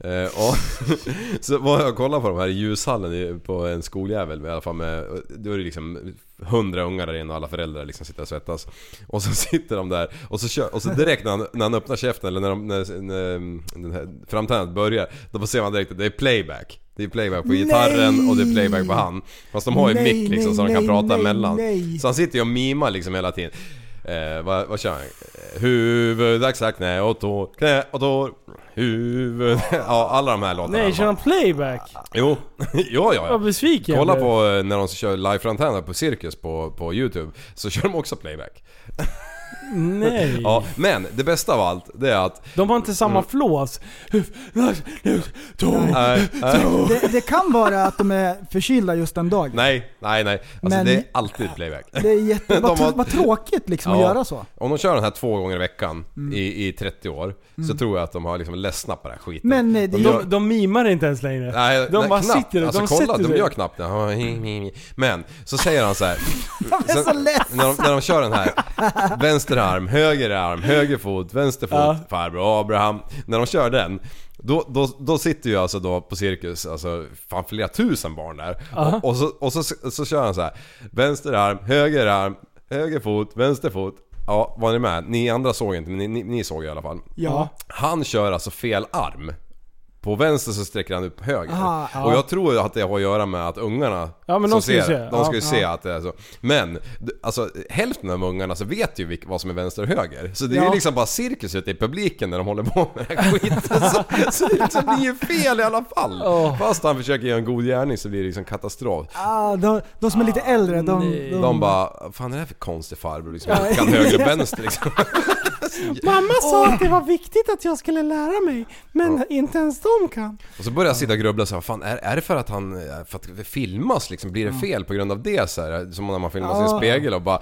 Eh, och [LAUGHS] så var jag och kollade på de här i ljushallen i- på en skoljävel i alla fall med, då är det liksom hundra ungar där inne och alla föräldrar liksom sitter och svettas. Och så [LAUGHS] sitter de där och så, kör, och så direkt när han, när han öppnar käften eller när, de, när, när den här framtändandet börjar, då ser man direkt att det är playback. Det är playback på gitarren och det är playback på han. Fast de har ju
Nej,
mick liksom så de
nej,
kan
nej,
prata
nej,
emellan.
nej.
Så han sitter ju och mimar liksom hela tiden. Eh, vad, vad kör han? Eh, Huvud, axlar, knä och tår, knä och tår, huvud. [LAUGHS] ja, alla de här låtarna.
Nej, kör han playback?
Jo, [LAUGHS] jo, ja,
Vad
ja.
besviken jag
Kolla
blev.
på eh, när de kör live framträdande på Cirkus på, på YouTube, så kör de också playback.
Nej.
Ja, Mm. men det bästa av allt, det är att...
De har inte samma flås.
Nej, nej,
[LAUGHS] Det, det kan vara att de är förkylda just den dagen.
nej, nej, nej. Alltså
Men-
det är alltid playback.
Det är jätte... Vad,
De har-
tr- vad tråkigt liksom att
Ja.
göra så.
Om de kör den här två gånger i veckan i, i 30 år, så tror jag att de har liksom ledsnat på den här skiten.
Men eh, det är ju...
gör-
De, de mimar inte ens längre.
Nej,
de
nej,
bara
knappt.
sitter och
alltså,
de
kolla,
sätter
de
sig.
gör knappt det. Men, så säger han
[LAUGHS]
så här.
De är så ledsna.
när, de, när de kör den här, vänster arm, höger arm, höger fot, vänster fot,
Ja.
farbror Abraham. När de kör den, då, då, då sitter ju alltså då på cirkus, alltså fan flera tusen barn där. Och, och, så, och så, så kör han så här. vänster arm, höger arm, höger fot, vänster fot. Ja, var ni med? Ni andra såg inte, men ni, ni, ni såg i alla fall.
Ja.
Han kör alltså fel arm. På vänster så sträcker han upp höger.
Aha,
och jag tror ju att det har att göra med att ungarna
Ja, men
som
de ska ju
ser-
se.
de ska
Ja,
ju se att det är så. Men d- alltså, hälften av ungarna så vet ju vilk, vad som är vänster och höger. Så det är
Ja.
ju liksom bara cirkus ute i publiken när de håller på med den här skiten. [LAUGHS] så, så det liksom blir ju fel i alla fall. Fast han försöker göra en god gärning så blir det liksom katastrof.
Ah, de, de som är lite äldre, de... de,
Mm.
De bara, fan är det här för konstig farbror liksom? Kan höger och vänster liksom.
Mamma sa att det var viktigt att jag skulle lära mig, men inte ens de kan.
Och så börjar jag sitta och grubbla så här, fan är, är det för att han, eh, för att det filmas liksom, blir det fel på grund av det så här? Som när man filmar sin
Ja.
spegel och bara,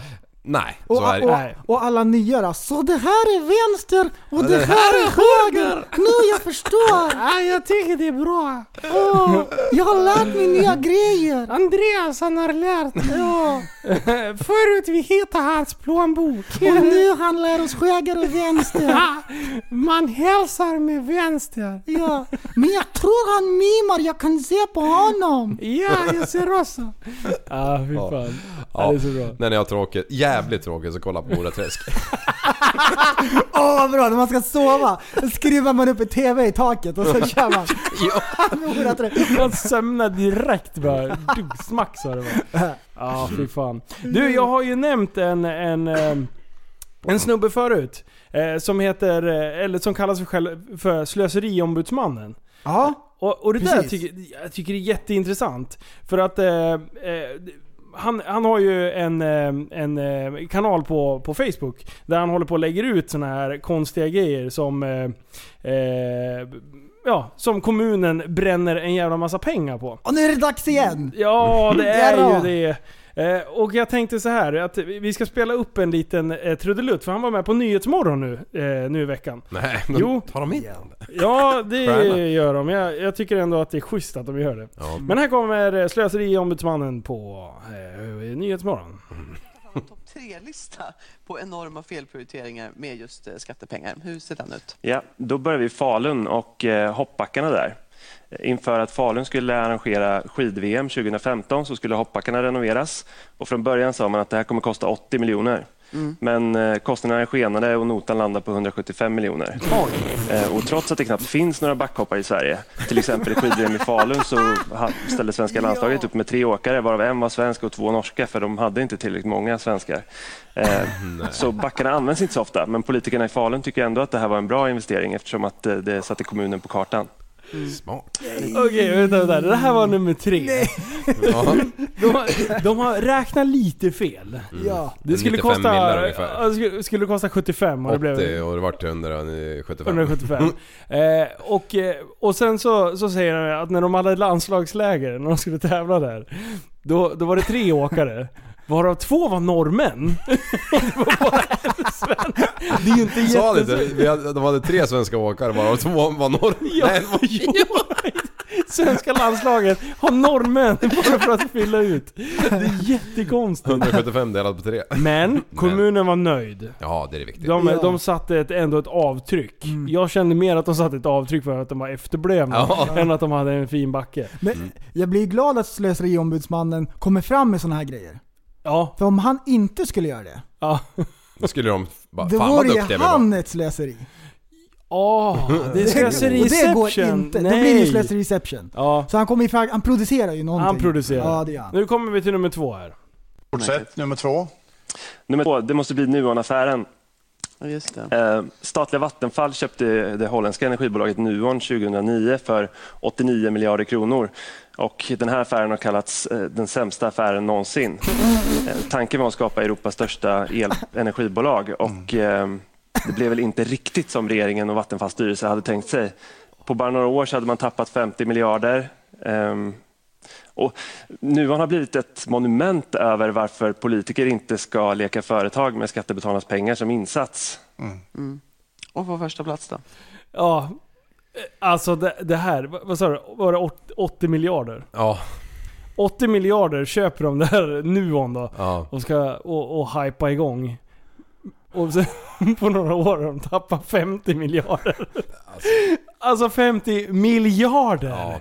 nej,
och,
så är det.
Nej.
och, och alla nya då, Så det här är vänster och det här är höger! Nu jag förstår!
Ah, jag tycker det är bra.
Åh, jag har lärt mig nya grejer!
Andreas han har lärt ja.
[LAUGHS]
Förut vi hittade hans plånbok.
Och nu handlar oss höger och vänster!
Ah, Man hälsar med vänster.
Ja, men jag tror han mimar, jag kan se på honom!
Ja, jag ser också. Ah, fy fan.
Ja,
Det är så bra.
när ni har tråkigt, jävligt tråkigt så kolla på Mora Träsk.
Åh vad bra, när man ska sova, då skruvar man upp ett TV i taket och så kör man. [LAUGHS]
ja.
Mora Trä-
Man sömnar direkt bara. Dunk, Smack sa det bara. Ja, fy fan.
Du, jag har ju nämnt en, en, ehm, en snubbe förut. eh, Som heter, eh, eller som kallas för, själv, för slöseriombudsmannen.
Ja,
Och, och det där
Precis.
tycker jag tycker det är jätteintressant. För att eh, eh, han, han har ju en, eh, en eh, kanal på, på Facebook där han håller på och lägger ut såna här konstiga grejer som eh, eh, Ja, som kommunen bränner en jävla massa pengar på.
och nu är det dags igen!
Ja, det
Det är
är
då.
ju det. Eh, och jag tänkte så här att vi vi ska spela upp en liten eh, trudelutt för han var med på Nyhetsmorgon nu, eh, nu i veckan.
Nej, men
Jo.
tar de in den?
Ja, det
Stjärna.
gör de. Jag, jag tycker ändå att det är schysst att de gör det.
Ja.
Men här kommer eh, slöseriombudsmannen på eh, Nyhetsmorgon.
har en topp tre-lista på enorma felprioriteringar med just eh, skattepengar. Hur ser den ut?
Ja, då börjar vi i Falun och eh, hoppbackarna där. Inför att Falun skulle arrangera skid-VM 2015 så skulle hoppbackarna renoveras. Och från början sa man att det här kommer kosta 80 miljoner. Men eh, kostnaderna skenade och notan landade på 175 miljoner. Eh, Och trots att det knappt finns några backhoppare i Sverige, till exempel i skid-VM i Falun så ha- ställde svenska landslaget upp med tre åkare varav en var svensk och två norska för de hade inte tillräckligt många svenskar. Eh, [LAUGHS] Så backarna används inte så ofta, men politikerna i Falun tycker ändå att det här var en bra investering eftersom att eh, det satte kommunen på kartan.
Smart.
Okej, vänta, vänta. Det här var nummer tre.
Ja.
[LAUGHS] De, har- de har räknat lite fel.
Ja.
Det skulle
95
kosta,
Mm. millar ungefär.
ja, det skulle- skulle kosta 75 och det blev
80 och det vart 175. [LAUGHS]
175. eh, och, eh, och sen så, så säger han att när de hade landslagsläger, när de skulle tävla där, då, då var det tre åkare. Varav två var norrmän. Det var bara en svensk. Det är ju inte
Sa
jätte...
ni inte? Vi hade- De hade tre svenska åkare bara och två var norr.
Ja,
Nej, det var-
jo. Svenska landslaget har norrmän bara för att fylla ut. Det är jättekonstigt.
175 delat på tre.
Men kommunen var nöjd.
Ja, det är det viktiga.
De,
ja.
de satte ett, ändå ett avtryck.
Mm.
Jag kände mer att de satte ett avtryck för att de var efterblivna
Ja.
än att de hade en fin backe.
Mm. Men jag blir glad att slöseriombudsmannen kommer fram med sådana här grejer.
Ja.
För om han inte skulle göra det,
Ja.
Då skulle de bara,
då
fan vad
vore ju
duktiga vi var.
han ett slöseri.
Ah, [LAUGHS] det är
Och det går
slöseriception.
inte. Då
Nej.
blir det ju slöseriception.
Ja.
Så han kommer ju fram, han producerar ju någonting.
Han producerar.
Ja, det gör han.
Nu kommer vi till nummer två här.
Fortsätt, nummer två. Nummer två, det måste bli Nuon-affären. Eh, statliga Vattenfall köpte det holländska energibolaget Nuon 2009 för 89 miljarder kronor. Och den här affären har kallats eh, den sämsta affären någonsin. Eh, tanken var att skapa Europas största el- energibolag. Och, eh, det blev väl inte riktigt som regeringen och Vattenfalls styrelse hade tänkt sig. På bara några år så hade man tappat 50 miljarder. Ehm, och Nuon har blivit ett monument över varför politiker inte ska leka företag med skattebetalarnas pengar som insats.
Och på första plats då?
Ja. Alltså det, det här, vad vad sa du? Var det åt- 80 miljarder?
Ja.
80 miljarder köper de där [LAUGHS] Nuon då.
Ja.
Och ska och, och hypa igång. Och sen [LAUGHS] på några år har de tappat 50 miljarder. Alltså, 50 miljarder!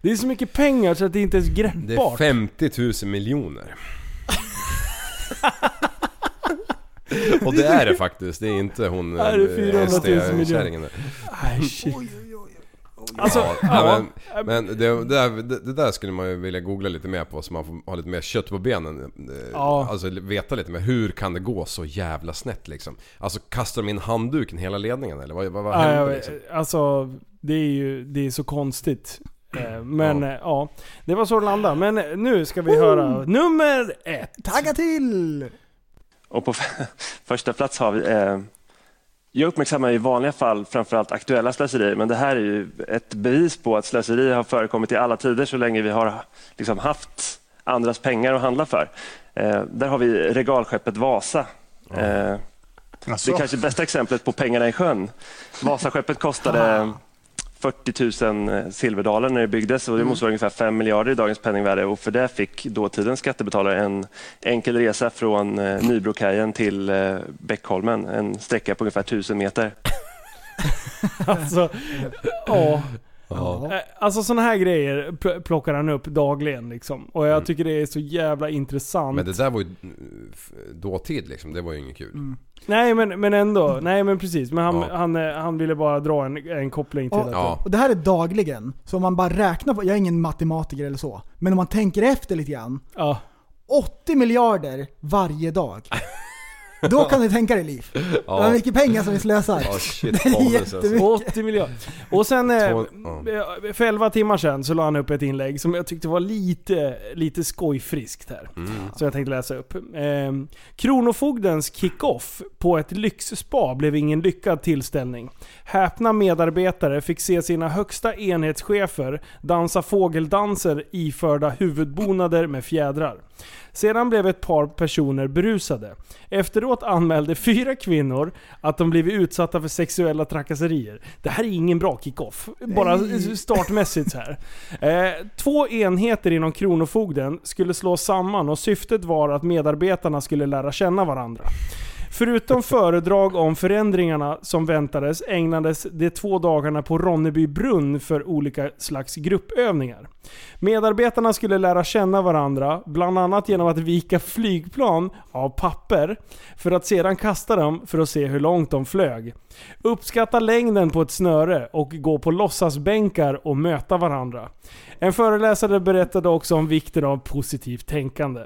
Det är så mycket pengar så att det inte ens är
Det är
greppbart.
50 000
[LAUGHS]
miljoner. Och det är det faktiskt. Det är inte hon eh,
Här är 400 000
SD-kärringen där.
Nej, shit. Alltså,
Ja,
ja.
nej, men, men det, det, där, det, det där skulle man ju vilja googla lite mer på så man får ha lite mer kött på benen. Eh,
Ja.
Alltså veta lite mer. Hur kan det gå så jävla snett liksom? Alltså kastar de in handduken hela ledningen eller vad, vad, vad
Nej, jag
händer
vet-
liksom?
Alltså, det är ju det är så konstigt. Eh, Men ja. ja, det var så det landade. Men eh, nu ska vi höra nummer ett.
Tagga till!
Och på [LAUGHS] första plats har vi... Eh, jag uppmärksammar i vanliga fall framförallt aktuella slöserier men det här är ju ett bevis på att slöseri har förekommit i alla tider så länge vi har liksom, haft andras pengar att handla för. Eh, där har vi regalskeppet Vasa. Eh, det
Asså.
är kanske bästa exemplet på pengarna i sjön. Vasaskeppet kostade 40 000 silverdaler eh, när det byggdes och det motsvarar ungefär 5 miljarder i dagens penningvärde. Och för det fick dåtidens skattebetalare en enkel resa från eh, Nybrokajen till eh, Bäckholmen, en sträcka på ungefär 1000 meter.
Alltså, ja.
Ja.
Eh, Alltså sådana här grejer pl- plockar han upp dagligen liksom. Och
Mm.
jag tycker det är så jävla intressant.
Men det där var ju eh, f- dåtid liksom. Det var ju inget kul.
Mm. Nej men, men ändå, nej men precis. Men han,
Mm. Ja.
han, eh, han ville bara dra en, en koppling till
Och,
att
och det här är dagligen. Så om man bara räknar på, jag är ingen matematiker eller så, men om man tänker efter lite grann.
Ja.
80 miljarder
[LAUGHS]
varje dag. Då kan du tänka dig liv. Det är mycket pengar som vi slösar.
[LAUGHS]
Ja, shit,
[LAUGHS] det är
bonus alltså.
jättemycket.
80 miljarder. Och sen eh,
Två-
eh, för 11 timmar sedan så la han upp ett inlägg som jag tyckte var lite, lite skojfriskt här. Så jag tänkte läsa upp. Ehm, Kronofogdens kick-off på ett lyxspa blev ingen lyckad tillställning. Häpna medarbetare fick se sina högsta enhetschefer dansa fågeldanser iförda huvudbonader med fjädrar. Sedan blev ett par personer berusade. Efteråt anmälde fyra kvinnor att de blivit utsatta för sexuella trakasserier. Det här är ingen bra kick-off. Bara
Nej.
startmässigt så här. Eh, två enheter inom Kronofogden skulle slås samman och syftet var att medarbetarna skulle lära känna varandra. Förutom föredrag om förändringarna som väntades ägnades de två dagarna på Ronneby brunn för olika slags gruppövningar. Medarbetarna skulle lära känna varandra, bland annat genom att vika flygplan av papper för att sedan kasta dem för att se hur långt de flög. Uppskatta längden på ett snöre och gå på låtsasbänkar och möta varandra. En föreläsare berättade också om vikten av positivt tänkande.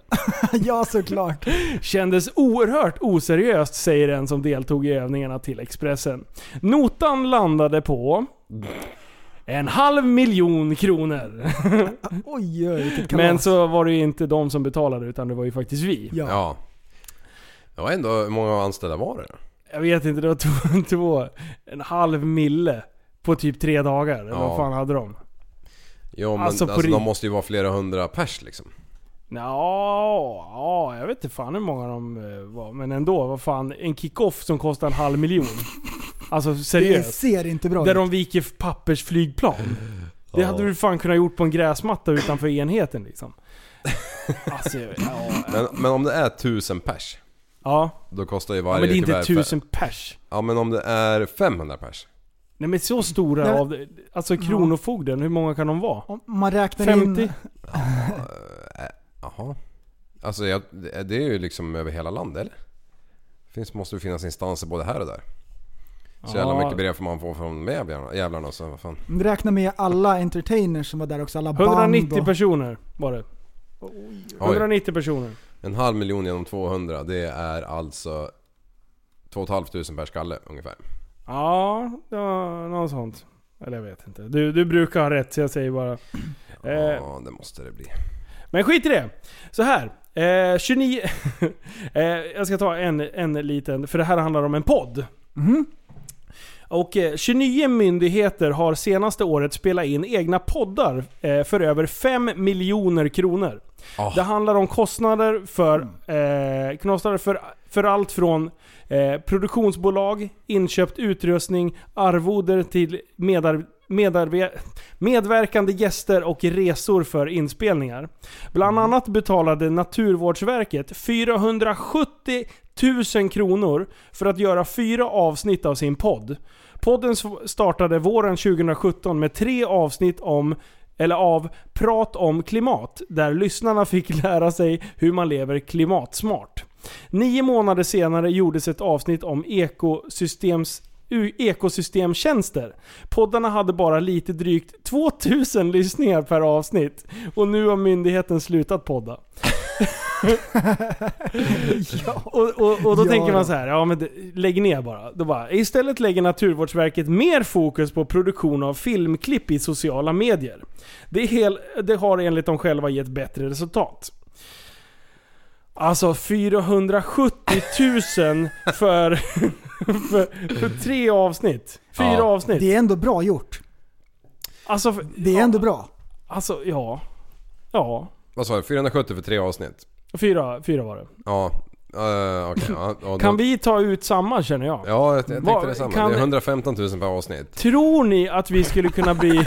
Ja, såklart.
Kändes oerhört oseriöst, säger en som deltog i övningarna till Expressen. Notan landade på... En halv miljon kronor.
Oj, oj, vilket kalas.
Men så var det ju inte de som betalade utan det var ju faktiskt vi.
Ja.
Ja. Det var ändå, hur många anställda var det?
Jag vet inte, det var två, [LAUGHS] två en halv mille på typ tre dagar. Eller
Ja.
Vad fan hade de?
Jo men
Alltså,
alltså,
på
de
ri-
måste ju vara flera hundra pers liksom.
Ja, ja, jag vet inte fan hur många de eh, var. Men ändå, vad fan. En kick-off som kostar en halv miljon. Alltså
det
seriöst.
ser inte bra
Där
ut.
de viker pappersflygplan. Det hade du fan kunnat gjort på en gräsmatta utanför enheten liksom. Alltså, ja.
Men, men om det är 1000 pers.
Ja.
Då kostar ju
ja
varje
men det är inte
kuvert fe-
tusen pers.
Ja men om det är 500 pers.
Nej men så stora
Nej, men-
av Alltså Kronofogden, hur många kan de vara?
Om man räknar
50?
in...
Jaha. Alltså jag, det det är ju liksom över hela landet eller? Finns, måste ju finnas instanser både här och där. Så jävla
Ja.
mycket brev får man få från de jävlarna- jävlarna så vad fan.
Om du räknar med alla entertainers som var där också, alla band
190
och...
personer var det.
Oj.
190 personer.
En halv miljon genom 200 det är alltså 2 500 per skalle ungefär.
Ja, ja, något sånt. Eller jag vet inte. Du, du brukar ha rätt så jag säger bara. Eh,
Ja det måste det bli.
Men skit i det. Så här. Eh, 29... [LAUGHS] eh, jag ska ta en, en liten, för det här handlar om en podd.
Mhm.
Och eh, 29 myndigheter har senaste året spelat in egna poddar eh, för över 5 miljoner kronor.
Ah.
Det handlar om kostnader för, eh, kostnader för, för allt från eh, produktionsbolag, inköpt utrustning, arvoder till medar, medarbe, medverkande gäster och resor för inspelningar. Bland annat betalade Naturvårdsverket 470 000 kronor för att göra fyra avsnitt av sin podd. Podden s- startade våren 2017 med tre avsnitt om eller av Prat om klimat, där lyssnarna fick [LAUGHS] lära sig hur man lever klimatsmart. Nio månader senare gjordes ett avsnitt om ekosystems, u- ekosystemtjänster. Poddarna hade bara lite drygt 2000 lyssningar per avsnitt och nu har myndigheten slutat
[LAUGHS]
podda. [LAUGHS] och, och, och då
Ja,
tänker
då.
man så här, ja men det- lägg ner bara. Då bara. Istället lägger Naturvårdsverket mer fokus på produktion av filmklipp i sociala medier. Det, är hel, det har enligt dem själva gett bättre resultat. Alltså 470 000 för, [LAUGHS] för, för tre avsnitt. Fyra
Ja.
avsnitt.
Det är ändå bra gjort.
alltså, för-
Det är ändå bra.
Alltså, ja. Ja.
Vad sa du? 470 för tre avsnitt?
Fyra, fyra var det.
Ja. Uh, Okej. ja, ja, då-
Kan vi ta ut samma känner jag?
Ja, jag, jag tänkte
Vad-
detsamma.
kan-
Det är 115 000 per avsnitt.
Tror ni att vi skulle kunna
[LAUGHS]
bli...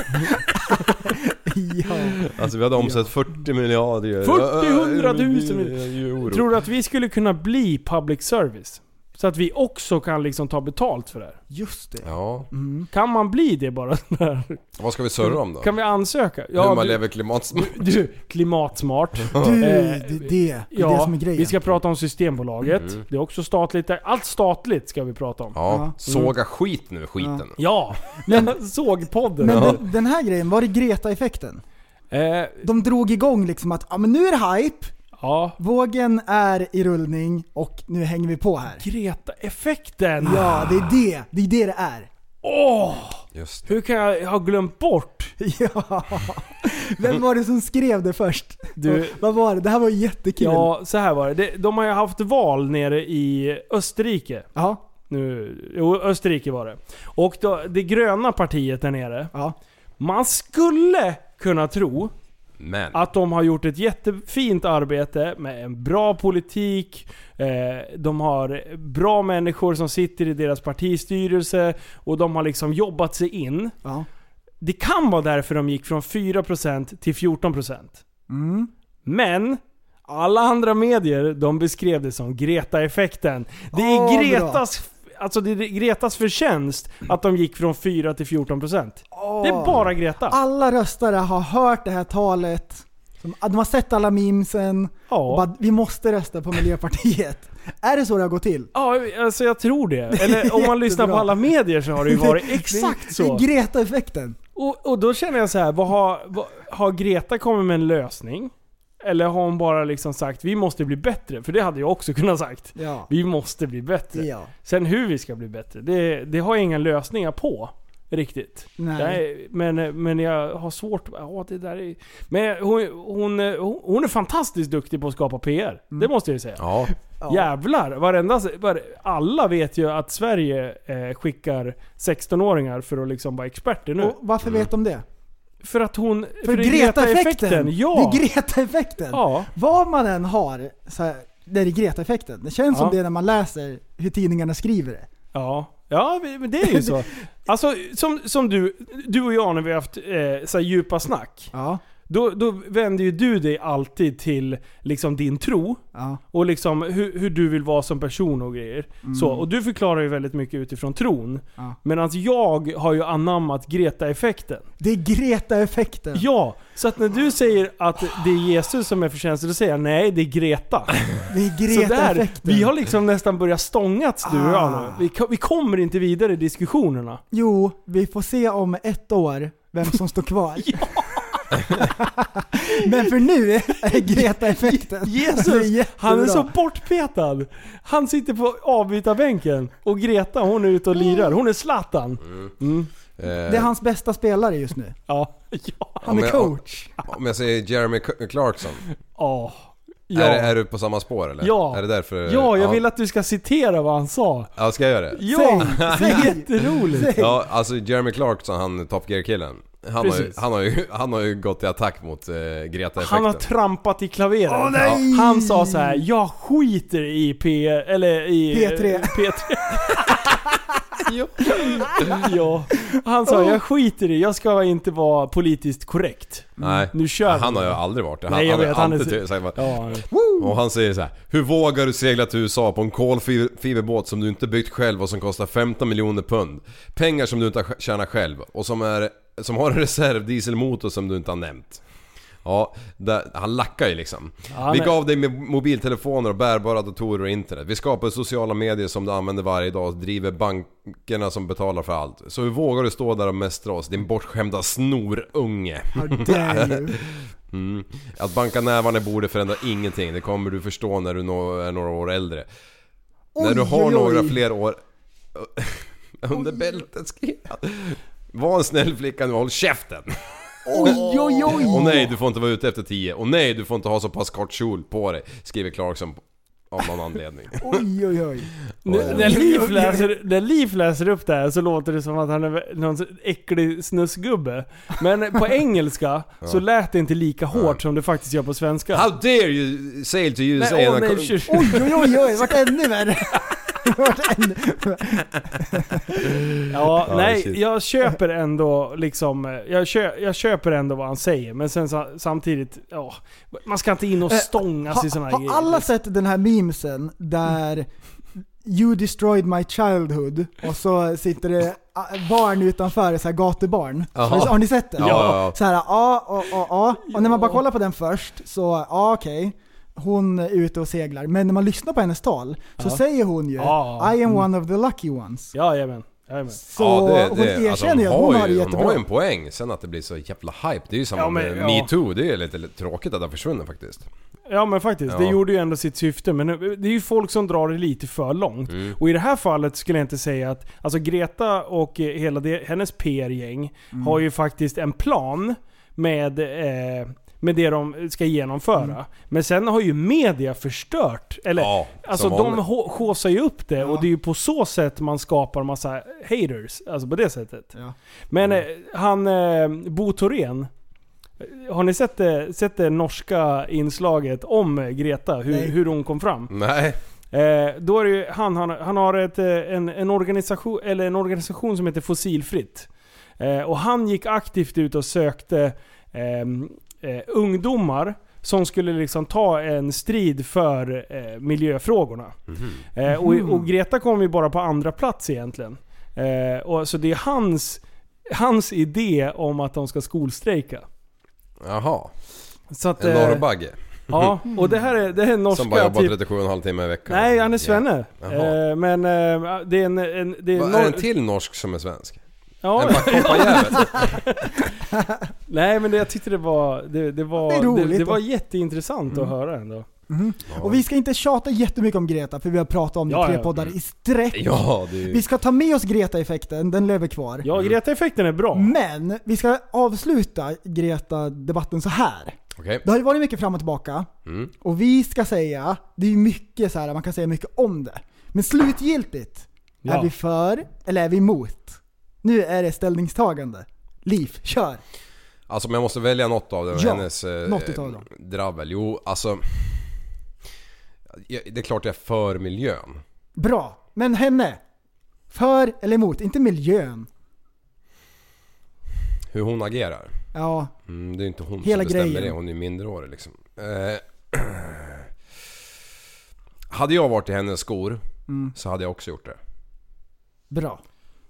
Alltså vi hade omsatt 40 miljarder.
40 100 000
euro.
Tror du att vi skulle kunna bli public service? Så att vi också kan liksom ta betalt för det här.
Just det.
Ja.
Kan man bli det bara? Där?
Vad ska vi surra om då?
Kan vi ansöka?
Hur man
du-
lever klimatsmart?
Du, klimatsmart.
Du, det
Eh,
är det. Det är
Ja,
det som är grejen.
vi ska prata om Systembolaget. Det är också statligt. där. Allt statligt ska vi prata om.
Ja, såga skit nu skiten.
Ja! [LAUGHS] Men, Sågpodden.
Men den, den här grejen, var det Greta-effekten?
Eh,
De drog igång liksom att ja, men nu är det hype,
ja.
vågen är i rullning och nu hänger vi på här.
Greta-effekten.
Ja, det är det. Det är det det är. [LAUGHS]
Åh!
Just det.
hur kan jag ha glömt bort?
Ja. Vem var det som skrev det först?
Du-
[LAUGHS] Vad var det? Det här var ju jättekul.
Ja, så här var det. Det- De har ju haft val nere i Österrike.
Ja.
Nu, jo, Österrike var det. Och då, det gröna partiet där nere.
Ja.
Man skulle kunna tro
Men.
att de har gjort ett jättefint arbete med en bra politik. Eh, de har bra människor som sitter i deras partistyrelse och de har liksom jobbat sig in.
Ja.
Det kan vara därför de gick från 4% till 14%.
Mm.
Men alla andra medier de beskrev det som Greta-effekten. Det är
Åh, bra.
Gretas Alltså det är Gretas förtjänst att de gick från 4 till 14%. Det är
Åh. Ah,
bara Greta.
Alla röstare har hört det här talet. De ah, de har sett alla memesen. Och
Ja.
bara, vi måste rösta på Miljöpartiet. [LAUGHS] är det så det har gått till?
Ja, alltså jag tror det. Eller om
[LAUGHS]
man lyssnar på
Jättebra.
alla medier så har det ju varit exakt
[LAUGHS] Det är,
så.
det är Greta-effekten.
Och, och då känner jag så här, vad har, vad, har Greta kommit med en lösning? Eller har hon bara liksom sagt vi måste bli bättre? För det hade jag också kunnat sagt.
Ja.
Vi måste bli bättre.
Ja.
Sen hur vi ska bli bättre, det, det har jag inga lösningar på. Riktigt.
Nej.
Nej, men, men jag har svårt... Ja, det där är, men hon, hon, hon, hon är fantastiskt duktig på att skapa PR.
Mm.
Det måste jag ju säga.
Ja.
Jävlar! Varenda, var, alla vet ju att Sverige eh, skickar 16-åringar för att liksom vara experter nu.
Och varför vet de det?
för att hon...
För,
det är
Greta-effekten!
Ja!
Det är Greta-effekten!
ja.
Vad man än har, så här, det är Greta-effekten. Det känns
Ja.
som det när man läser hur tidningarna skriver det. [LAUGHS]
Ja. Ja, men det är ju så. Alltså som, som du, du och jag när vi har haft eh, så här djupa snack. Då, då vänder ju du dig alltid till liksom din tro. Och liksom hur, hur du vill vara som person och grejer.
Mm.
Så, och du förklarar ju väldigt mycket utifrån tron. Medan jag har ju anammat Greta-effekten.
Det är Greta-effekten.
Ja, så att när du säger att det är Jesus som är förtjänsten, då säger jag nej, det är Greta.
[LAUGHS] Det är
Sådär,
Greta-effekten.
vi har liksom nästan börjat stångats du och jag
Ah.
nu. Vi, ko- vi kommer inte vidare i diskussionerna.
Jo, vi får se om ett år vem som
[LAUGHS]
står kvar. [LAUGHS] Men för nu är Greta-effekten. Det är
Jesus,
jättebra.
han är så bortpetad. Han sitter på avbytarbänken och Greta hon är ute och lirar. Hon är Zlatan. Mm.
eh,
Det är hans bästa spelare just nu.
Ja.
Han är
Om jag-
coach.
Om jag säger Jeremy Cl- Clarkson.
Ja.
Är, är du på samma spår eller?
Ja.
Är det därför?
Ja, jag vill att du ska citera vad han sa.
Ja, ska jag göra det?
Ja, det
[LAUGHS]
är [LAUGHS] jätteroligt.
Ja, alltså Jeremy Clarkson, han Top Gear-killen. Han har, ju,
Precis.
han, har ju, han har ju gått i attack mot eh, Greta-effekten.
Han har trampat i klaveret.
Åh, nej!
Han sa så här: jag skiter i P... Eller i...
P3.
P3. ja. ja. Han sa, jag skiter i, jag ska inte vara politiskt korrekt.
Nej,
Nu kör vi.
han har ju aldrig varit det. Han,
Nej, jag
han,
vet,
har
han är
alltid
så-
ty- sagt bara-
Ja, han är-
Och han säger så här: Hur vågar du segla till USA på en kolfiberbåt som du inte byggt själv och som kostar 15 miljoner pund? Pengar som du inte har sj- tjänat själv och som, är, som har en reservdieselmotor som du inte har nämnt. Ja, där, han lackar ju liksom.
han
Vi
är-
gav dig med mobiltelefoner och bärbara datorer och internet. Vi skapar sociala medier som du använder varje dag och driver bankerna som betalar för allt. Så hur vågar du stå där och mästra oss, din bortskämda snorunge?
dare you.
Mm. Att banka nävarna i bordet förändrar ingenting. Det kommer du förstå när du nå- är några år äldre. [LAUGHS] när du har
oj,
några
oj.
fler år [LAUGHS] under bältet skrev han. Var en snäll flicka nu och håll käften!
Oj, oj, oj.
Och nej, du får inte vara ute efter tio. Och nej, du får inte ha så pass kort kjol på dig. Skriver Clarkson av någon
[LAUGHS]
anledning.
Oj, oj, oj.
När- När Liv, läser, när Liv läser upp det här så låter det som att han är någon äcklig snusgubbe. Men på engelska så lät det inte lika hårt som det faktiskt gör på svenska.
How dare you sail to USA
Nej, åh,
and-
nej, tjur-
Oj, oj, oj, oj. Det vart
[LAUGHS]
ännu värre. Det vart ännu
Ja,
Ja,
nej,
shit.
jag köper ändå liksom, eh, jag, kö, jag köper ändå vad han säger, men sen sa- samtidigt, ja, man ska inte in och
Eh,
stångas i sådana här
har
grejer.
alla sett den här memesen där You destroyed my childhood och så sitter det ah, barn utanför, så här gatubarn.
Jaha.
Har ni- Har ni sett den?
Ja, ja, ja.
Så här, ja, ja, ja, ja. Och när man bara kollar på den först så, ja okej. Hon är ute och seglar, men när man lyssnar på hennes tal så
Ja.
säger hon ju
Ja.
I am one of the lucky ones.
Ja, jajamän. jajamän.
Så hon erkänner
alltså,
ju att hon har det
ju, hon har
jättebra.
ju en poäng. Sen att det blir så jävla hype, det är ju samma
Ja, men,
med
ja.
metoo. Det är lite tråkigt att det har försvunnit faktiskt.
Ja men faktiskt, det
Ja.
gjorde ju ändå sitt syfte. Men nu- det är ju folk som drar det lite för långt.
Mm.
Och i det här fallet skulle jag inte säga att, alltså Greta och eh, hela det, hennes PR-gäng
Mm.
har ju faktiskt en plan med, eh, med det de ska genomföra. Men sen har ju media förstört, eller
Mm. Ja,
alltså
som
de
vanligt.
hå- haussar ju upp det och det är ju på så sätt man skapar massa haters. Alltså på det sättet.
Ja.
Men eh, han, eh, Bo Thorén, har ni sett det, sett det norska inslaget om Greta? Hur,
Nej.
hur hon kom fram?
Nej.
Eh, då är det ju, han, han, han har ett, eh, en, en, organisation, eller en organisation som heter Fossilfritt. Eh, och han gick aktivt ut och sökte ehm, eh, ungdomar som skulle liksom ta en strid för eh, miljöfrågorna.
Mhm.
Eh, och, och Greta kom ju bara på andra plats egentligen. Eh, och, så det är hans, hans idé om att de ska skolstrejka.
Jaha.
Så att,
En
eh,
norrbagge.
Ja, och det här är, det här är norska
Som bara jobbar
typ-
37,5 timmar i veckan.
Nej, han är svenne.
Jaha.
Eh, men eh, det är en... en det är
Va,
nor-
är det en till norsk som är svensk?
Ja.
En backhopparjävel?
[LAUGHS] Nej men det, jag tyckte det var... Det, det, var,
Det är
det,
roligt
det,
då. Mm.
var jätteintressant att höra ändå.
Och vi ska inte tjata jättemycket om Greta för vi har pratat om
Ja,
det i tre
ja.
poddar i sträck.
Ja, det är ju...
Vi ska ta med oss Greta-effekten, den lever kvar.
Ja, Greta-effekten är bra.
Mm. Men vi ska avsluta Greta-debatten så här.
Okej.
Det har ju varit mycket fram och tillbaka.
Mm.
Och vi ska säga, det är ju mycket så här, man kan säga mycket om det. Men slutgiltigt,
Ja.
är vi för eller är vi emot? Nu är det ställningstagande. Liv, kör!
Alltså men jag måste välja något av dem.
Ja,
hennes eh,
något utav dem.
dravel. Jo, alltså... ja, Det är klart jag är för miljön.
Bra! Men henne! För eller emot? Inte miljön.
Hur hon agerar.
Ja.
Mm, det är ju inte hon
Hela
som bestämmer
grejen.
det, hon är ju minderårig liksom. Eh, [CLEARS THROAT] hade jag varit i hennes skor
Mm.
så hade jag också gjort det.
Bra.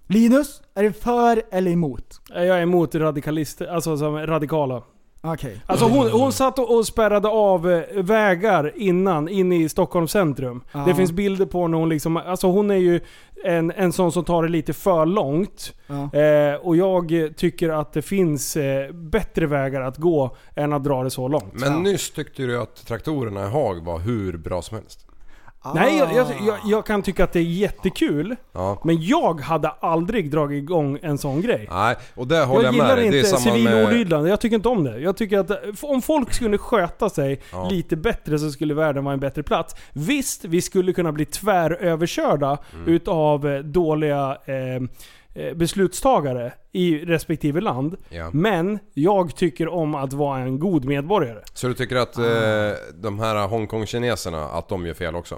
Linus, är du för eller emot?
Eh, Jag är emot radikalister, alltså som radikala.
Okej.
Alltså
Mm.
hon, hon satt och och spärrade av eh, vägar innan, inne i Stockholms centrum.
Ja.
Det finns bilder på när hon liksom, alltså hon är ju en, en sån som tar det lite för långt.
Ja.
Eh, och jag eh, tycker att det finns eh, bättre vägar att gå än att dra det så långt.
Men nyss tyckte du att traktorerna i Haag var hur bra som helst.
Nej, jag, jag, jag, jag kan tycka att det är jättekul.
Ah. Ja.
Men jag hade aldrig dragit igång en sån grej.
Nej, och där
Jag
håller jag,
gillar
med dig.
inte
Det är samma
civil
med...
olydnad. Jag tycker inte om det. Jag tycker att eh, f- om folk skulle sköta sig
Ja.
lite bättre så skulle världen vara en bättre plats. Visst, vi skulle kunna bli tväröverkörda
Mm.
utav eh, dåliga eh, eh, beslutstagare i respektive land.
Ja.
Men jag tycker om att vara en god medborgare.
Så du tycker att eh, de här Hongkong-kineserna, att de gör fel också?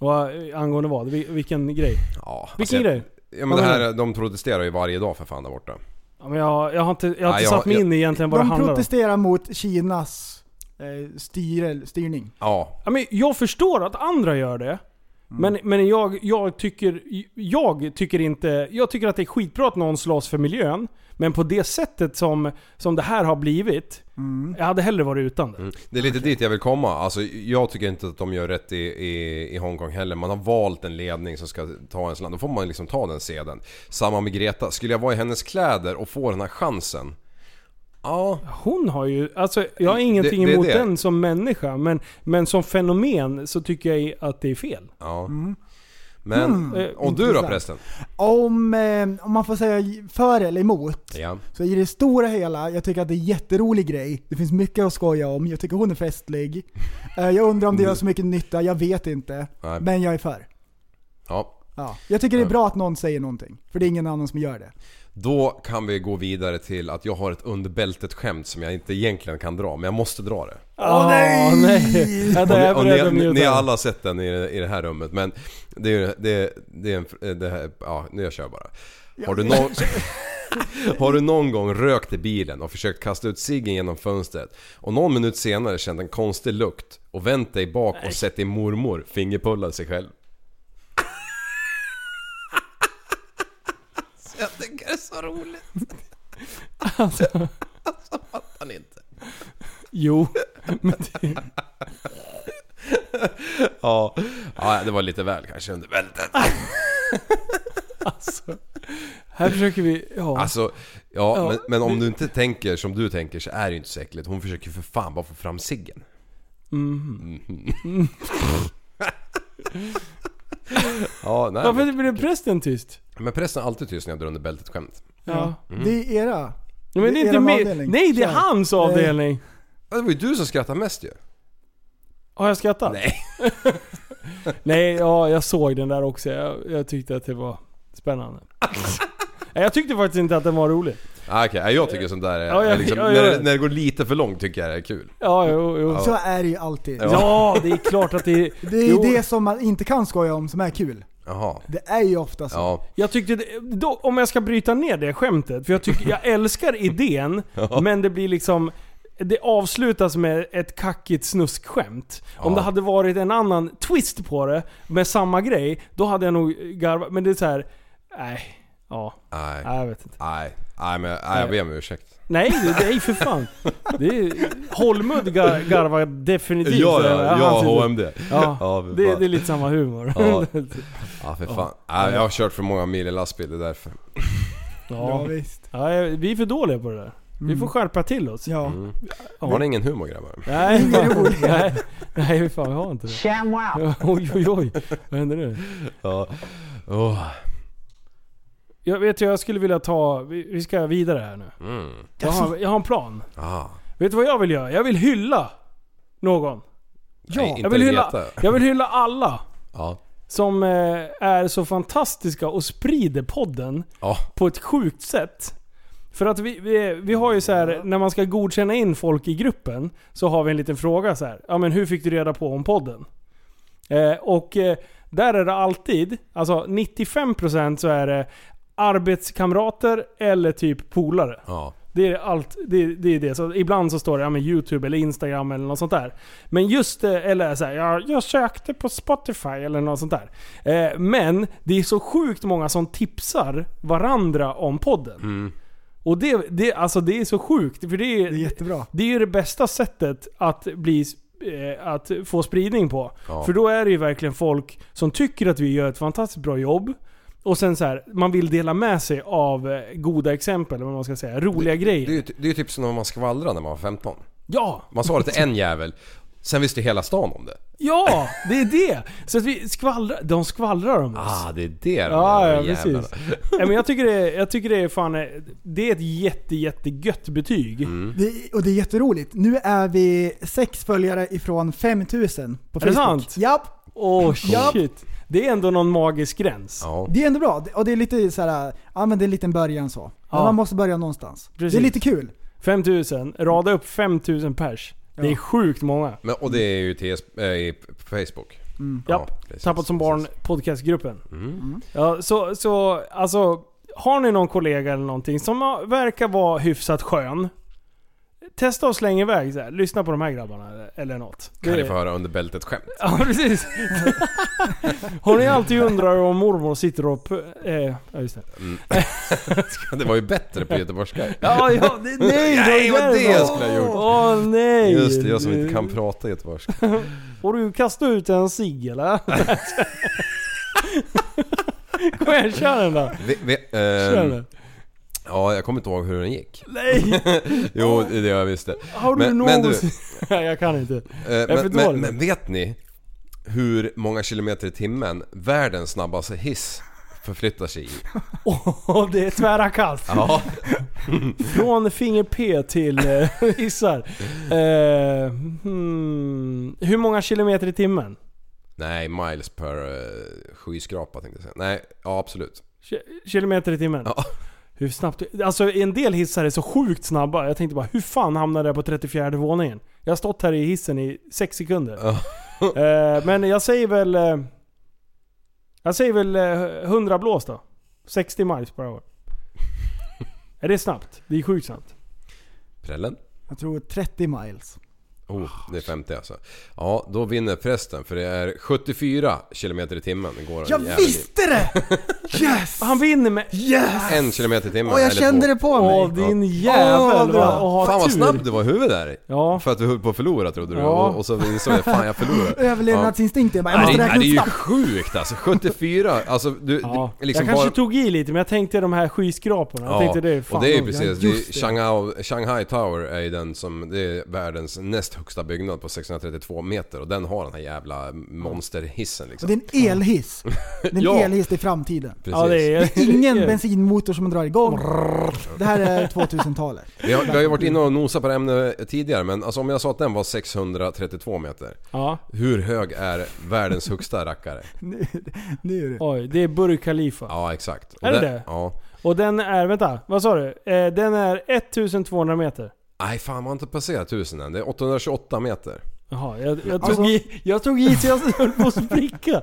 Och, eh, angående vad? Vil- Vilken grej?
Ja,
Vilken
alltså,
grej?
Ja men
Vad
det
menar
här, de protesterar ju varje dag för fan där borta.
Ja, men jag, jag har inte, jag har inte
Nej, jag-
satt mig
jag-
in i egentligen vad det
De
handlar om.
protesterar mot Kinas eh, styr, styrning.
Ja.
Ja, men jag förstår att andra gör det.
Mm.
Men, men jag, jag, tycker, jag tycker inte... Jag tycker att det är skitbra att någon slåss för miljön. Men på det sättet som, som det här har blivit. Jag hade hellre varit utan det.
Mm. Det är lite dit jag vill komma. Alltså, jag tycker inte att de gör rätt i, i, i Hongkong heller. Man har valt en ledning som ska ta ens land. Då får man liksom ta den seden. Samma med Greta. Skulle jag vara i hennes kläder och få den här chansen? Ja.
Hon har ju... Alltså, jag har ingenting
Det- det är
emot
det.
den som människa. Men, men som fenomen så tycker jag att det är fel.
ja. Men...
Mm,
Och du då
intressant.
prästen?
Om, eh, om man får säga för eller emot.
Ja.
Så i det stora hela, jag tycker att det är en jätterolig grej. Det finns mycket att skoja om. Jag tycker hon är festlig. Eh, jag undrar om det gör så mycket nytta, jag vet inte.
Nej.
Men jag är för.
ja.
Ja. Jag tycker det är
Ja.
bra att någon säger någonting. För det är ingen annan som gör det.
Då kan vi gå vidare till att jag har ett under bältet skämt som jag inte egentligen kan dra, men jag måste dra det.
Åh nej! nej. Ja, det är jag
och
beredd
ni,
att
ni, ni har
mjuta.
alla sett den i, det- i det här rummet men det är, det, det är en... Det här, ja, nu jag kör bara. Har du, [LAUGHS] någon, har du någon gång rökt i bilen och försökt kasta ut ciggen genom fönstret och någon minut senare känt en konstig lukt och vänt dig bak och sett din mormor fingerpulla sig själv? [LAUGHS] Jag tycker det är så roligt.
Alltså,
[LAUGHS] Så fattar ni inte.
jo. Men det,
Ja, ja det var lite väl kanske under bältet.
alltså, här försöker vi... Ja.
Alltså, ja,
Ja,
men, men om
det-
du inte tänker som du tänker så är det ju inte så äckligt. Hon försöker ju för fan bara få fram ciggen.
Mhm.
[LAUGHS] Ja, nej.
Varför
Men,
blev prästen tyst?
men prästen är alltid tyst när jag drar under bältet skämt.
Ja.
Det är era.
Ja, men det är
Det är
inte
en
min...
avdelning.
Nej, det är
Kör.
hans avdelning.
Ja, Det var ju du som skrattade mest ju.
Har jag skrattat?
Nej.
[LAUGHS] Nej, ja, jag såg den där också. Jag, jag tyckte att det var
[LAUGHS]
spännande. Nej, jag tyckte faktiskt inte att den var rolig.
Ah, Okej, ja, jag tycker sånt där är,
Ja, jag-
är liksom,
ja, ja,
när,
ja.
det- när det går lite för långt tycker jag det är kul.
Ja, jo, jo.
Så är det ju alltid.
Ja.
Ja, det är klart att det...
Det är
jo.
ju det som man inte kan skoja om som är kul.
Jaha.
Det är ju ofta så.
Ja.
Jag tyckte det, då, Om jag ska bryta ner det skämtet, för jag, tycker, jag älskar
[LAUGHS]
idén, men det blir liksom... Det avslutas med ett kackigt snuskskämt. Om
Ja.
det hade varit en annan twist på det, med samma grej, då hade jag nog garvat. Men det är så här. Nej. Ja.
Nej.
Nej, jag vet inte.
Nej. Nej, men nej, jag ber om ursäkt.
Nej, det- nej för fan. [LAUGHS] Det är, Holmud gar, garvar definitivt.
Ja, ja,
Han
ja,
sitter-
HMD.
Ja,
för
det,
fan.
det är lite samma humor. [LAUGHS]
Ja. Ja, för fan. Nej, jag har kört för många mil i lastbil, det är därför.
Ja,
Ja.
visst. Mm.
Ja, vi är för dåliga på det där. Vi får skärpa till oss.
Ja.
Mm. Har ni ingen humor grabbar?
Nej, fan, [LAUGHS] nej, nej, fan vi har inte det. [LAUGHS]
Mm.
Ja, Oj, oj, oj. Vad händer nu?
Ja. Åh.
Jag vet ju, jag skulle vilja ta... Vi, vi ska vidare här nu.
Mm.
Jag har, jag har en plan.
Ah.
Vet du vad jag vill göra? Jag vill hylla någon.
Ja, Nej, inte
Jag vill hylla,
Greta.
jag vill hylla alla.
Ja.
som eh, är så fantastiska och sprider podden
Ja.
på ett sjukt sätt. För att vi, vi, vi har ju så här när man ska godkänna in folk i gruppen så har vi en liten fråga så här. Ja men hur fick du reda på om podden? Eh, och eh, där är det alltid, alltså 95% så är det arbetskamrater eller typ polare.
Ja.
Det- Det är allt, det, det är det. Så ibland så står det ja, men YouTube eller Instagram eller något sånt där. Men just, eh, eller så här, ja, jag sökte på Spotify eller något sånt där. Eh, men det är så sjukt många som tipsar varandra om podden. Och det, det, alltså det är så sjukt. För det är, Mm. det är
jättebra.
Det är ju det bästa sättet att bli eh, att få spridning på.
Ja.
För då är det ju verkligen folk som tycker att vi gör ett fantastiskt bra jobb. Och sen så här, man vill dela med sig av eh, goda exempel, eller vad man ska säga. Roliga grejer.
Det är ju det är ju typ som när man skvallrade när man var 15.
Ja!
Man sa det till en jävel, sen visste hela stan om det.
Ja! Det är det! Så att vi skvallrar, de skvallrar om oss.
Ah, det är det de
Ja, ja
jävla jävlarna.
precis. Nej, men jag, tycker det, jag tycker det är fan... eh, Det är ett jätte, jättegött betyg.
Mm.
Det, och det är jätteroligt. Nu är vi sex följare ifrån 5000 på
Är det
Facebook.
sant?
Japp!
Åh
Japp.
shit. Det är ändå någon magisk gräns.
Det är ändå bra. Och det är lite så här, ja men det är en liten början så. Men
Ja.
man måste börja någonstans.
Precis.
Det är lite kul.
5000. Rada upp 5000 pers. Det är
Ja.
sjukt många.
Men, och det är ju TS, äh, i- på Facebook.
Mm.
Ja,
Japp.
precis.
Tappat som barn podcastgruppen.
Mm.
Ja, så, så alltså, har ni någon kollega eller någonting som har- verkar vara hyfsat skön. Testa och släng iväg så här. Lyssna på de här grabbarna eller- eller något.
Kan
Det-
ni få höra under bältet skämt?
[LAUGHS]
[LAUGHS]
Ja precis. [LAUGHS] Har ni alltid undrar om mormor sitter och... p- Eh, ja just det.
Mm. det var ju bättre på göteborgska.
Ja, ja, det, [LAUGHS] nej!
Nej, vad det jag skulle ha gjort.
Åh nej!
Just det, jag som inte kan prata göteborgska.
Får du kasta ut en cigg
[LAUGHS]
eller? Kom igen, kör den då.
Vi, vi,
Kör
ehm,
den.
ja, jag kommer inte ihåg hur den gick.
Nej!
jo, det är det jag visste.
Har du
men, men du,
någonsin... [LAUGHS] Nej, jag kan inte.
eh,
jag är för
men, men,
dålig.
men vet ni hur många kilometer i timmen världens snabbaste hiss förflyttar
[LAUGHS]
sig i?
Åh, det är tvära kast.
Ja.
Från finger P till eh, [LAUGHS] hissar. Eh, hmm, hur många kilometer i timmen?
Nej, miles per eh, skyskrapa tänkte jag säga. Nej, ja absolut.
Ki- Kilometer i timmen?
Ja.
Hur snabbt? Alltså en del hissar är så sjukt snabba. Jag tänkte bara, hur fan hamnade jag på 34 våningen? Jag har stått här i hissen i 6 sekunder.
Ja.
Eh, men jag säger väl... eh, Jag säger väl eh, 100 blås då. 60 miles per hour. är det snabbt? Det är sjukt snabbt.
Prällen?
Jag tror 30 miles.
Oh, det är 50 alltså. Ja, då vinner prästen för det är 74 kilometer i timmen. Det går en
Jag
jävel i.
visste det!
[LAUGHS]
Yes!
Han vinner med...
Yes!
En kilometer i timmen.
Åh, jag
eller
kände
två.
det på mig.
Åh din jävel
bra.
vad- och ha
Fan vad
tur.
snabb du var i huvudet där.
Ja.
För att du höll på att förlora trodde du.
Ja.
Och- Och så insåg jag, fan jag förlorade.
[LAUGHS]
Överlevnadsinstinkt. Jag bara, jag
Nej,
måste
det, nej, det
räkna
är ju
ut snabbt.
sjukt alltså. 74, alltså du,
Ja.
du liksom
jag kanske
bara...
tog i lite men jag tänkte de här skyskraporna. Jag tänkte det är fan
och det är ju
nog-
precis,
ja,
det är
just det.
Shanghai, Shanghai Tower är ju den som, det är världens näst högsta byggnad på 632 meter och den har den här jävla monsterhissen
Och
liksom.
det är en elhiss. Det är en
Ja.
elhiss, det är framtiden.
Precis.
Ja, det är, [LAUGHS]
Ingen bensinmotor som drar igång. Det här är 2000-talet.
Vi, har, vi har ju varit inne och nosat på det här ämnet tidigare men alltså om jag sa att den var 632 meter.
Ja.
Hur hög är världens högsta rackare?
Nu, nu är det.
Oj, det är Burj Khalifa.
Ja exakt. Och
Är det
den-
det?
Ja.
Och den är, vänta, vad sa du? Eh, den är 1200 meter.
Nej fan man har inte passerat 1000 än. Det är 828 meter.
Jaha, jag, jag,
Alltså-
tog i, jag tog i så jag höll på att spricka.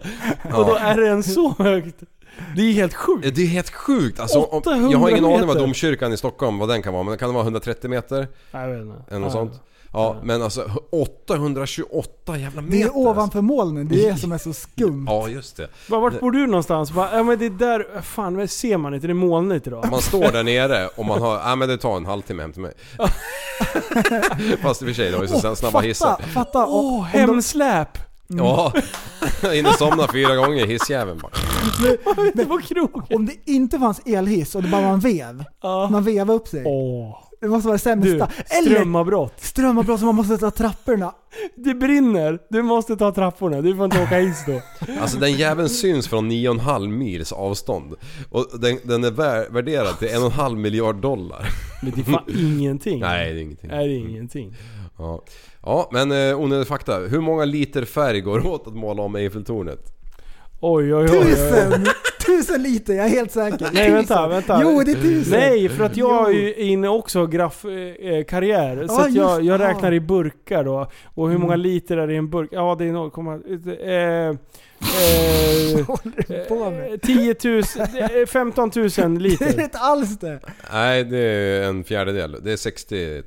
Och då är den så högt. Det är helt sjukt.
Eh, Det är helt sjukt alltså, om, Jag har
800
ingen aning vad
meter.
domkyrkan i Stockholm vad den kan vara men kan det vara 130 meter?
Nej, jag vet inte.
Eller något
Ja.
sånt. Ja, men alltså 828 jävla meter.
Det är ovanför molnen, det är det som är så skumt.
Ja, just det.
Bara, Vart bor du någonstans? Bara, ja men det är där, fan vad ser man inte? Det är molnigt idag.
Man står där nere och man har, ja men det tar en halvtimme hem till
[LAUGHS]
mig. Fast i och för sig, det var ju så snabba hissar.
Fatta, fatta om-
Åh,
om de,
hemsläp!
Ja, [LAUGHS] jag hinner somna fyra gånger i hissjäveln bara.
Det var krogen.
om det inte fanns elhiss och det bara var en vev. Man vevar upp sig.
Åh.
Det måste vara det
Du,
sämsta. Eller
strömavbrott.
strömavbrott som man måste ta trapporna.
[LAUGHS] Det brinner. Du måste ta trapporna. Du får inte åka hiss då.
Alltså den jäveln syns från 9,5 mils avstånd. Och den, den är vär, värderad till 1,5 miljard dollar.
[LAUGHS] Men det är fan ingenting.
Nej, det är ingenting.
Nej, det är ingenting.
Ja, ja men eh, onödig fakta. Hur många liter färg går åt att måla om Eiffeltornet?
Oj, oj, oj. oj.
Tusen! tusen liter, jag är helt säker.
Nej vänta, vänta.
Jo, det är tusen. [LAUGHS]
Nej, för att jag är ju inne också och graff, eh, karriär. Så
Ja,
att jag,
just-
jag
ja.
räknar i burkar då. Och hur
Mm.
många liter är det i en burk? Ja, det är 0, eh, [LAUGHS] eh,
På mig.
10 000, eh, 15 000
Det är
[LAUGHS] liter.
inte alls det.
Nej, det är en fjärdedel. Det är 60... ehm,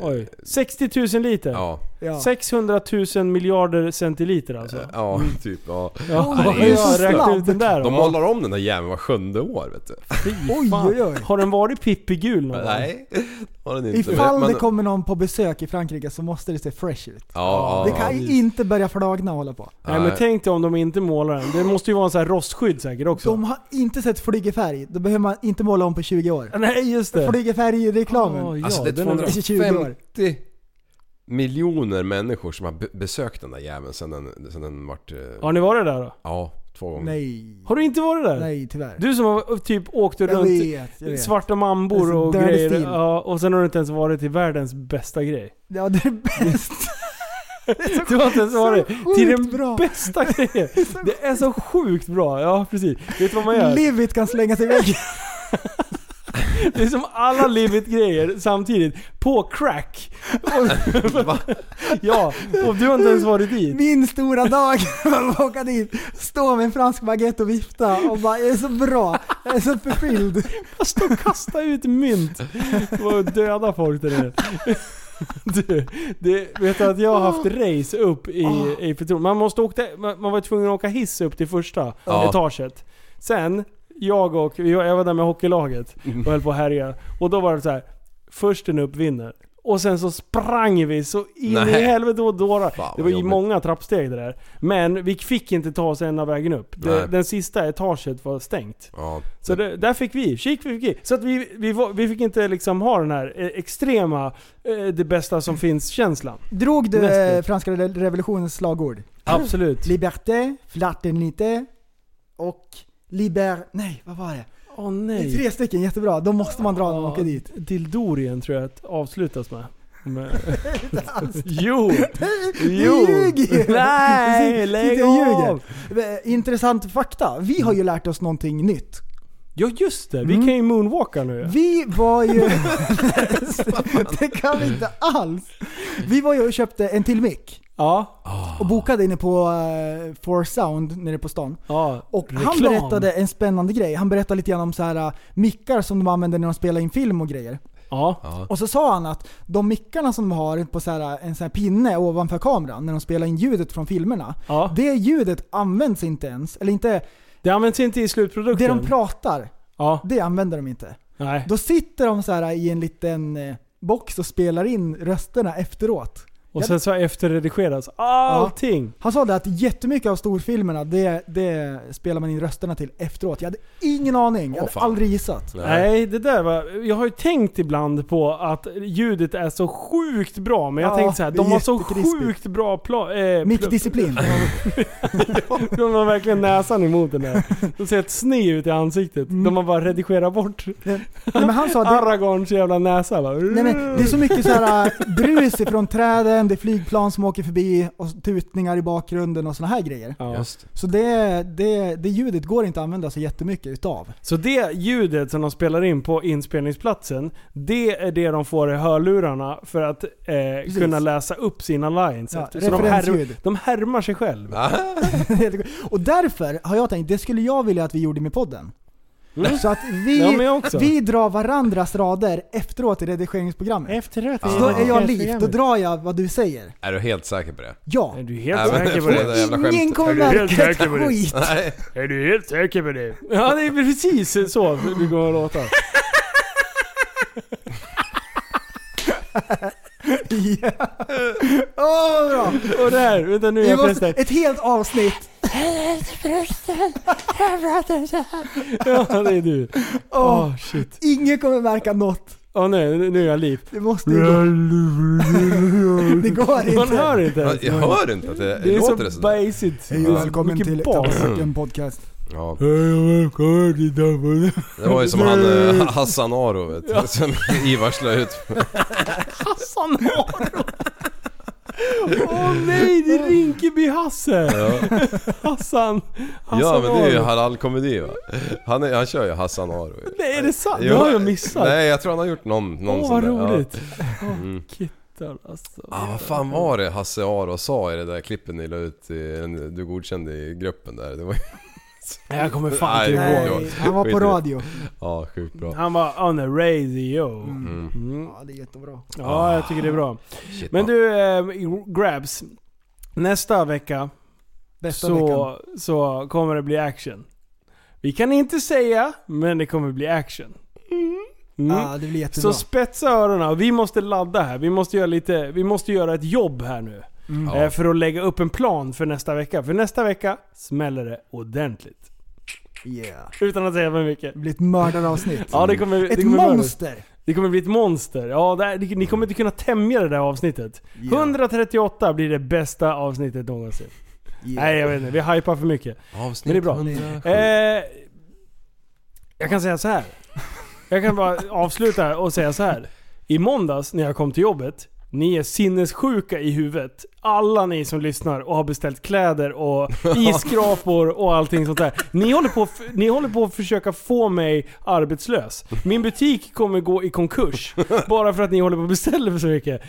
Oj. 60 000 liter?
Ja.
Ja.
600 000 miljarder centiliter alltså.
Ja, typ ja.
Ja,
Oh,
Nej,
vad
det är
har
så
jag
snabbt.
räknat ut den där
De
då?
målar om den där jäveln var sjunde år vet du.
Fy
Oj,
fan.
oj, oj.
Har den varit pippigul någon gång?
Nej, har den inte.
Ifall
Men-
det kommer någon på besök i Frankrike så måste det se fresh ut.
Ja,
det
ja,
kan
ja.
ju inte börja flagna och hålla på.
Nej men
Nej.
tänk dig om de inte målar den. Det måste ju vara en sån här rostskydd säkert också.
De har inte sett flygefärg, då behöver man inte måla om på 20 år.
Nej just det.
Flygefärg i reklamen.
Ja,
Alltså det
den är-
är
20 år.
250 miljoner människor som har be- besökt den där jäveln sen den, sen den vart... eh,
Har ni varit där då?
Ja, två gånger.
Nej,
Har du inte varit där?
nej tyvärr.
Du som har typ åkt
jag
runt
vet, jag vet.
svarta
Det är
mambor
så
och
dirty
grejer.
stil.
Ja, och sen har du inte ens varit i världens bästa
[LAUGHS]
grej.
Ja, det
[LAUGHS]
är bäst.
Du har inte ens varit
sjukt
till den
bra. [LAUGHS]
bästa grejen. Det är så sjukt bra. Ja precis. Vet du vad man gör?
Livit kan slänga
[LAUGHS]
sig iväg.
Det är som alla livet grejer samtidigt. På crack.
Va?
Ja, och du har inte ens varit dit.
Min stora dag [LAUGHS] att åka dit, stå med en fransk baguette och vifta och bara jag är så bra, jag är så förfylld.
Stå och kasta ut mynt och döda folk där nere. [LAUGHS] Du, det, vet du att jag har haft race upp i,
Ah.
i Petrol. Man, måste åka, man man var tvungen att åka hiss upp till första
Ja.
etaget. Sen, jag och, jag jag var där med hockeylaget
Mm.
och höll på att härja. Och då var det så här. försten upp vinner. Och sen så sprang vi så in
Nej.
i helvete och dårar.
Fan, vad
Det var ju
jobbigt.
många trappsteg det där. Men vi fick inte ta oss ena vägen upp.
Nej.
Det, den sista etaget var stängt.
Ja.
Så det, där fick vi, kik fick vi. Så att vi, vi, var- vi fick inte liksom ha den här eh, extrema, eh, det bästa som finns-känslan.
Drog du
Nästa.
eh, franska re- revolutionens slagord?
Absolut.
Liberté, fraternité och liber... Nej, vad var det?
Åh
Det är
nej.
tre stycken, jättebra. De måste man dra när man åker dit.
Dildorien tror jag att avslutas med.
[LAUGHS]
med. jo! [LAUGHS]
Du ljuger ju! Du
Nej!
sit-
Lägg
sitter och ljuger.
av!
Eh, Intressant fakta. Vi har ju lärt oss någonting nytt.
Ja just det, vi
Mm.
kan ju moonwalka nu.
Vi var ju...
[LAUGHS]
det kan vi inte alls! Vi var ju och köpte en till mick
Ja.
och bokade inne på uh, Four Sound nere på stan.
ja.
Och han
reklam.
berättade en spännande grej. Han berättade lite grann om så här eh, mickar som de använder när de spelar in film och grejer.
Ja.
Och så sa han att de mickarna som de har på så här, eh, en sån här pinne ovanför kameran när de spelar in ljudet från filmerna.
ja.
Det ljudet används inte ens. Eller inte,
Det används inte i
det
slutprodukten.
de pratar,
ja.
det använder de inte.
Nej.
Då sitter de så här i en liten eh, box och spelar in rösterna efteråt.
Och sen så efterredigeras allting.
Han sa det att jättemycket av storfilmerna, det, det spelar man in rösterna till efteråt. Jag hade ingen aning, jag
Åh,
hade
fan.
aldrig gissat.
Nej, det där var... Jag har ju tänkt ibland på att ljudet är så sjukt bra, men jag
Ja,
tänkte så här,
det
de
är
har så
jättekrispigt.
sjukt bra plan... Eh,
[LAUGHS]
Mycket disciplin.
pl- [LAUGHS] de har verkligen näsan emot den
[LAUGHS]
där. De ser ett sne ut i ansiktet. De har bara redigerat bort
Nej, men han sa Mm. det,
Aragorns jävla näsa. Bara.
nej, men det är så mycket så här eh, drus ifrån träden, det är flygplan som åker förbi och tutningar i bakgrunden och såna här grejer.
Ja.
Just.
Så det, det, det ljudet går inte att använda så jättemycket utav.
Så det ljudet som de spelar in på inspelningsplatsen, det är det de får i hörlurarna för att eh, kunna läsa upp sina lines.
Ja,
efter. så de, här,
referensljud.
de härmar sig själv.
[LAUGHS] Och därför har jag tänkt, det skulle jag vilja att vi gjorde med podden.
Mm.
Så att vi,
Ja, men jag också.
vi drar varandras rader efteråt i redigeringsprogrammet.
Efteråt
Så då är jag liv, då drar jag vad du säger.
Är du helt säker på det?
Ja.
Är du helt
Nej, men-
säker på det?
där jävla
Och ingen
skämtet.
kommer
Är du helt
märka ett
säker på det?
skit.
Nej.
Är du helt säker på det? Ja, det är precis så det kommer att låta.
Ja. Åh, vad bra.
Och där, vänta nu är
Vi
jag
måste,
förresten.
ett helt avsnitt.
Ja, det är du. Åh, shit.
Ingen kommer märka något.
Åh nej, nu är jag liv.
Det måste ju gå. Det går
Man hör
inte.
inte ens.
Jag hör inte att det,
Alltså, Det är så
låter det sådär.
basigt.
Hej
Det är
och
så
välkommen
mycket
till
bas.
Tabaken Podcast.
Ja.
Välkommen
Det var ju som han eh, Hassan Aro vet du. Som [LAUGHS] Ivars la ut.
Åh nej, det är Rinkeby Baby-Hasse!
Ja.
Hassan. Hassan
Ja men det är ju
Aro.
halalkomedi va? Han, är, han kör ju Hassan Aro ju.
Nej är det sant?
Jo.
Det har jag missat.
Nej jag tror han har gjort någon, någon
Åh
sån
vad
där, ja.
roligt. Åh,
Mm.
Kittar alltså.
Ah, vad fan var det Hasse Aro sa i det där klippen ni la ut i, en- du godkände i gruppen där? Det var ju...
Nej, jag kommer fan
Nej,
inte
det
ihåg.
kommer jag
Nej, han var på
Skit i det.
radio.
Ja, sjukt bra.
Han var on the radio.
Mm.
Ja,
det är jättebra.
Ja, jag tycker det är bra.
Shit,
Men du, eh, Grabs. Nästa vecka
Bästa
så, Mm.
veckan.
så kommer det bli action. Vi kan inte säga, men det kommer bli action. Mm.
Ja, det blir jättebra.
Så spetsa öronen. Vi måste ladda här. Vi måste göra, lite, vi måste göra ett jobb här nu.
Mm.
Eh, För att lägga upp en plan för nästa vecka. För nästa vecka smäller det ordentligt.
Yeah.
Utan att säga för mycket.
Det blir ett mördaravsnitt.
Ja, det kommer,
ett
det kommer bli-
monster!
Det kommer bli ett monster. Ja, det här, ni- ni kommer inte kunna tämja det där avsnittet. 138 blir det bästa avsnittet någonsin. Nej jag vet inte, vi hypar för mycket. Men det är bra. Eh, jag kan säga så här. Jag kan bara avsluta och säga så här. I måndags när jag kom till jobbet, ni är sinnessjuka i huvudet. Alla ni som lyssnar och har beställt kläder och isskrapor och allting sånt där. Ni håller, på, ni håller på att försöka få mig arbetslös. Min butik kommer gå i konkurs. Bara för att ni håller på att beställa så mycket.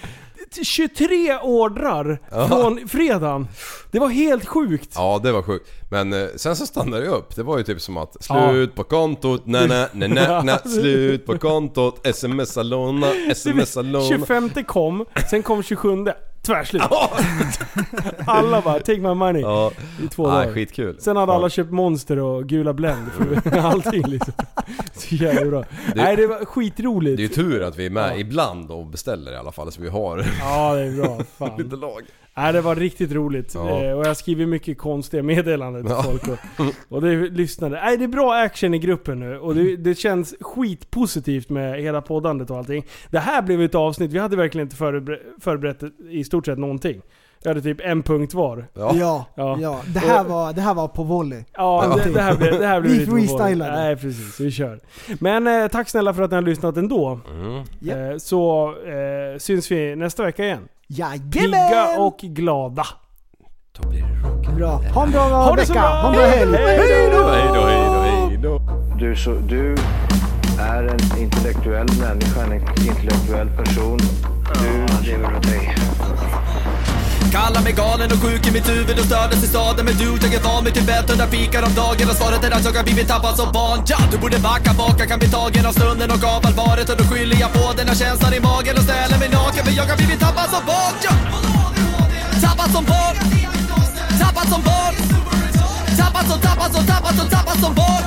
23 ordrar
Ja.
från fredagen. Det var helt sjukt.
Ja det var sjukt. Men eh, sen så stannade det upp. Det var ju typ som att slut på kontot, nä nä
[LAUGHS]
nä nä nä slut på kontot, smsa låna, smsa låna.
25 kom, sen kom 27. Tvärslut. Alla bara 'Take my money'
Ja.
i två
Ah,
dagar.
skitkul.
Sen hade alla köpt Monster och Gula Blend
[LAUGHS]
för allting liksom. Så jävla bra. Nej det var skitroligt.
Det är ju tur att vi är med ibland och beställer i alla fall så vi har [LAUGHS]
Ja det är bra. Fan.
lite lag.
Nej det var riktigt roligt.
Ja.
Eh, och jag skriver mycket konstiga meddelanden till
Ja.
folk. Och, och det lyssnade. Nej det är bra action i gruppen nu. Och det, det känns skitpositivt med hela poddandet och allting. Det här blev ett avsnitt, vi hade verkligen inte förberett, förberett i stort sett någonting. Vi hade typ en punkt var.
Ja. Ja, Det, här var, det här var på volley.
Ja, det,
Allting.
det här blev, det här blev
Vi
lite på bollen.
freestylade.
Nej precis, vi kör. Men eh, tack snälla för att ni har lyssnat ändå.
Mm.
Eh, så eh, syns vi nästa vecka igen.
Jajamän!
Pigga och glada.
Bra. Ha en bra
Ha det så
vecka!
bra!
Ha en bra helg!
Hejdå, hejdå, hejdå.
Du, så, du är en intellektuell människa, en intellektuell person. Du lever åt dig.
Kallar mig galen och sjuk i mitt huvud och stördes i staden Men du, jag är van vid Tibet och där fikar om dagen Och svaret är att jag har blivit tappad som barn ja, Du borde backa baka, kan bli tagen av stunden och av allvaret Och då skyller jag på den här känslan i magen och ställer mig naken För jag har blivit tappad som barn ja. Tappad som barn Tappad som barn Tappad som, tappad som, tappad som, tappad som barn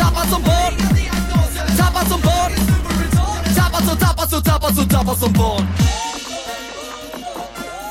Tappad som barn Tappad som barn Tappad som, tappad som, tappad som, tappad som barn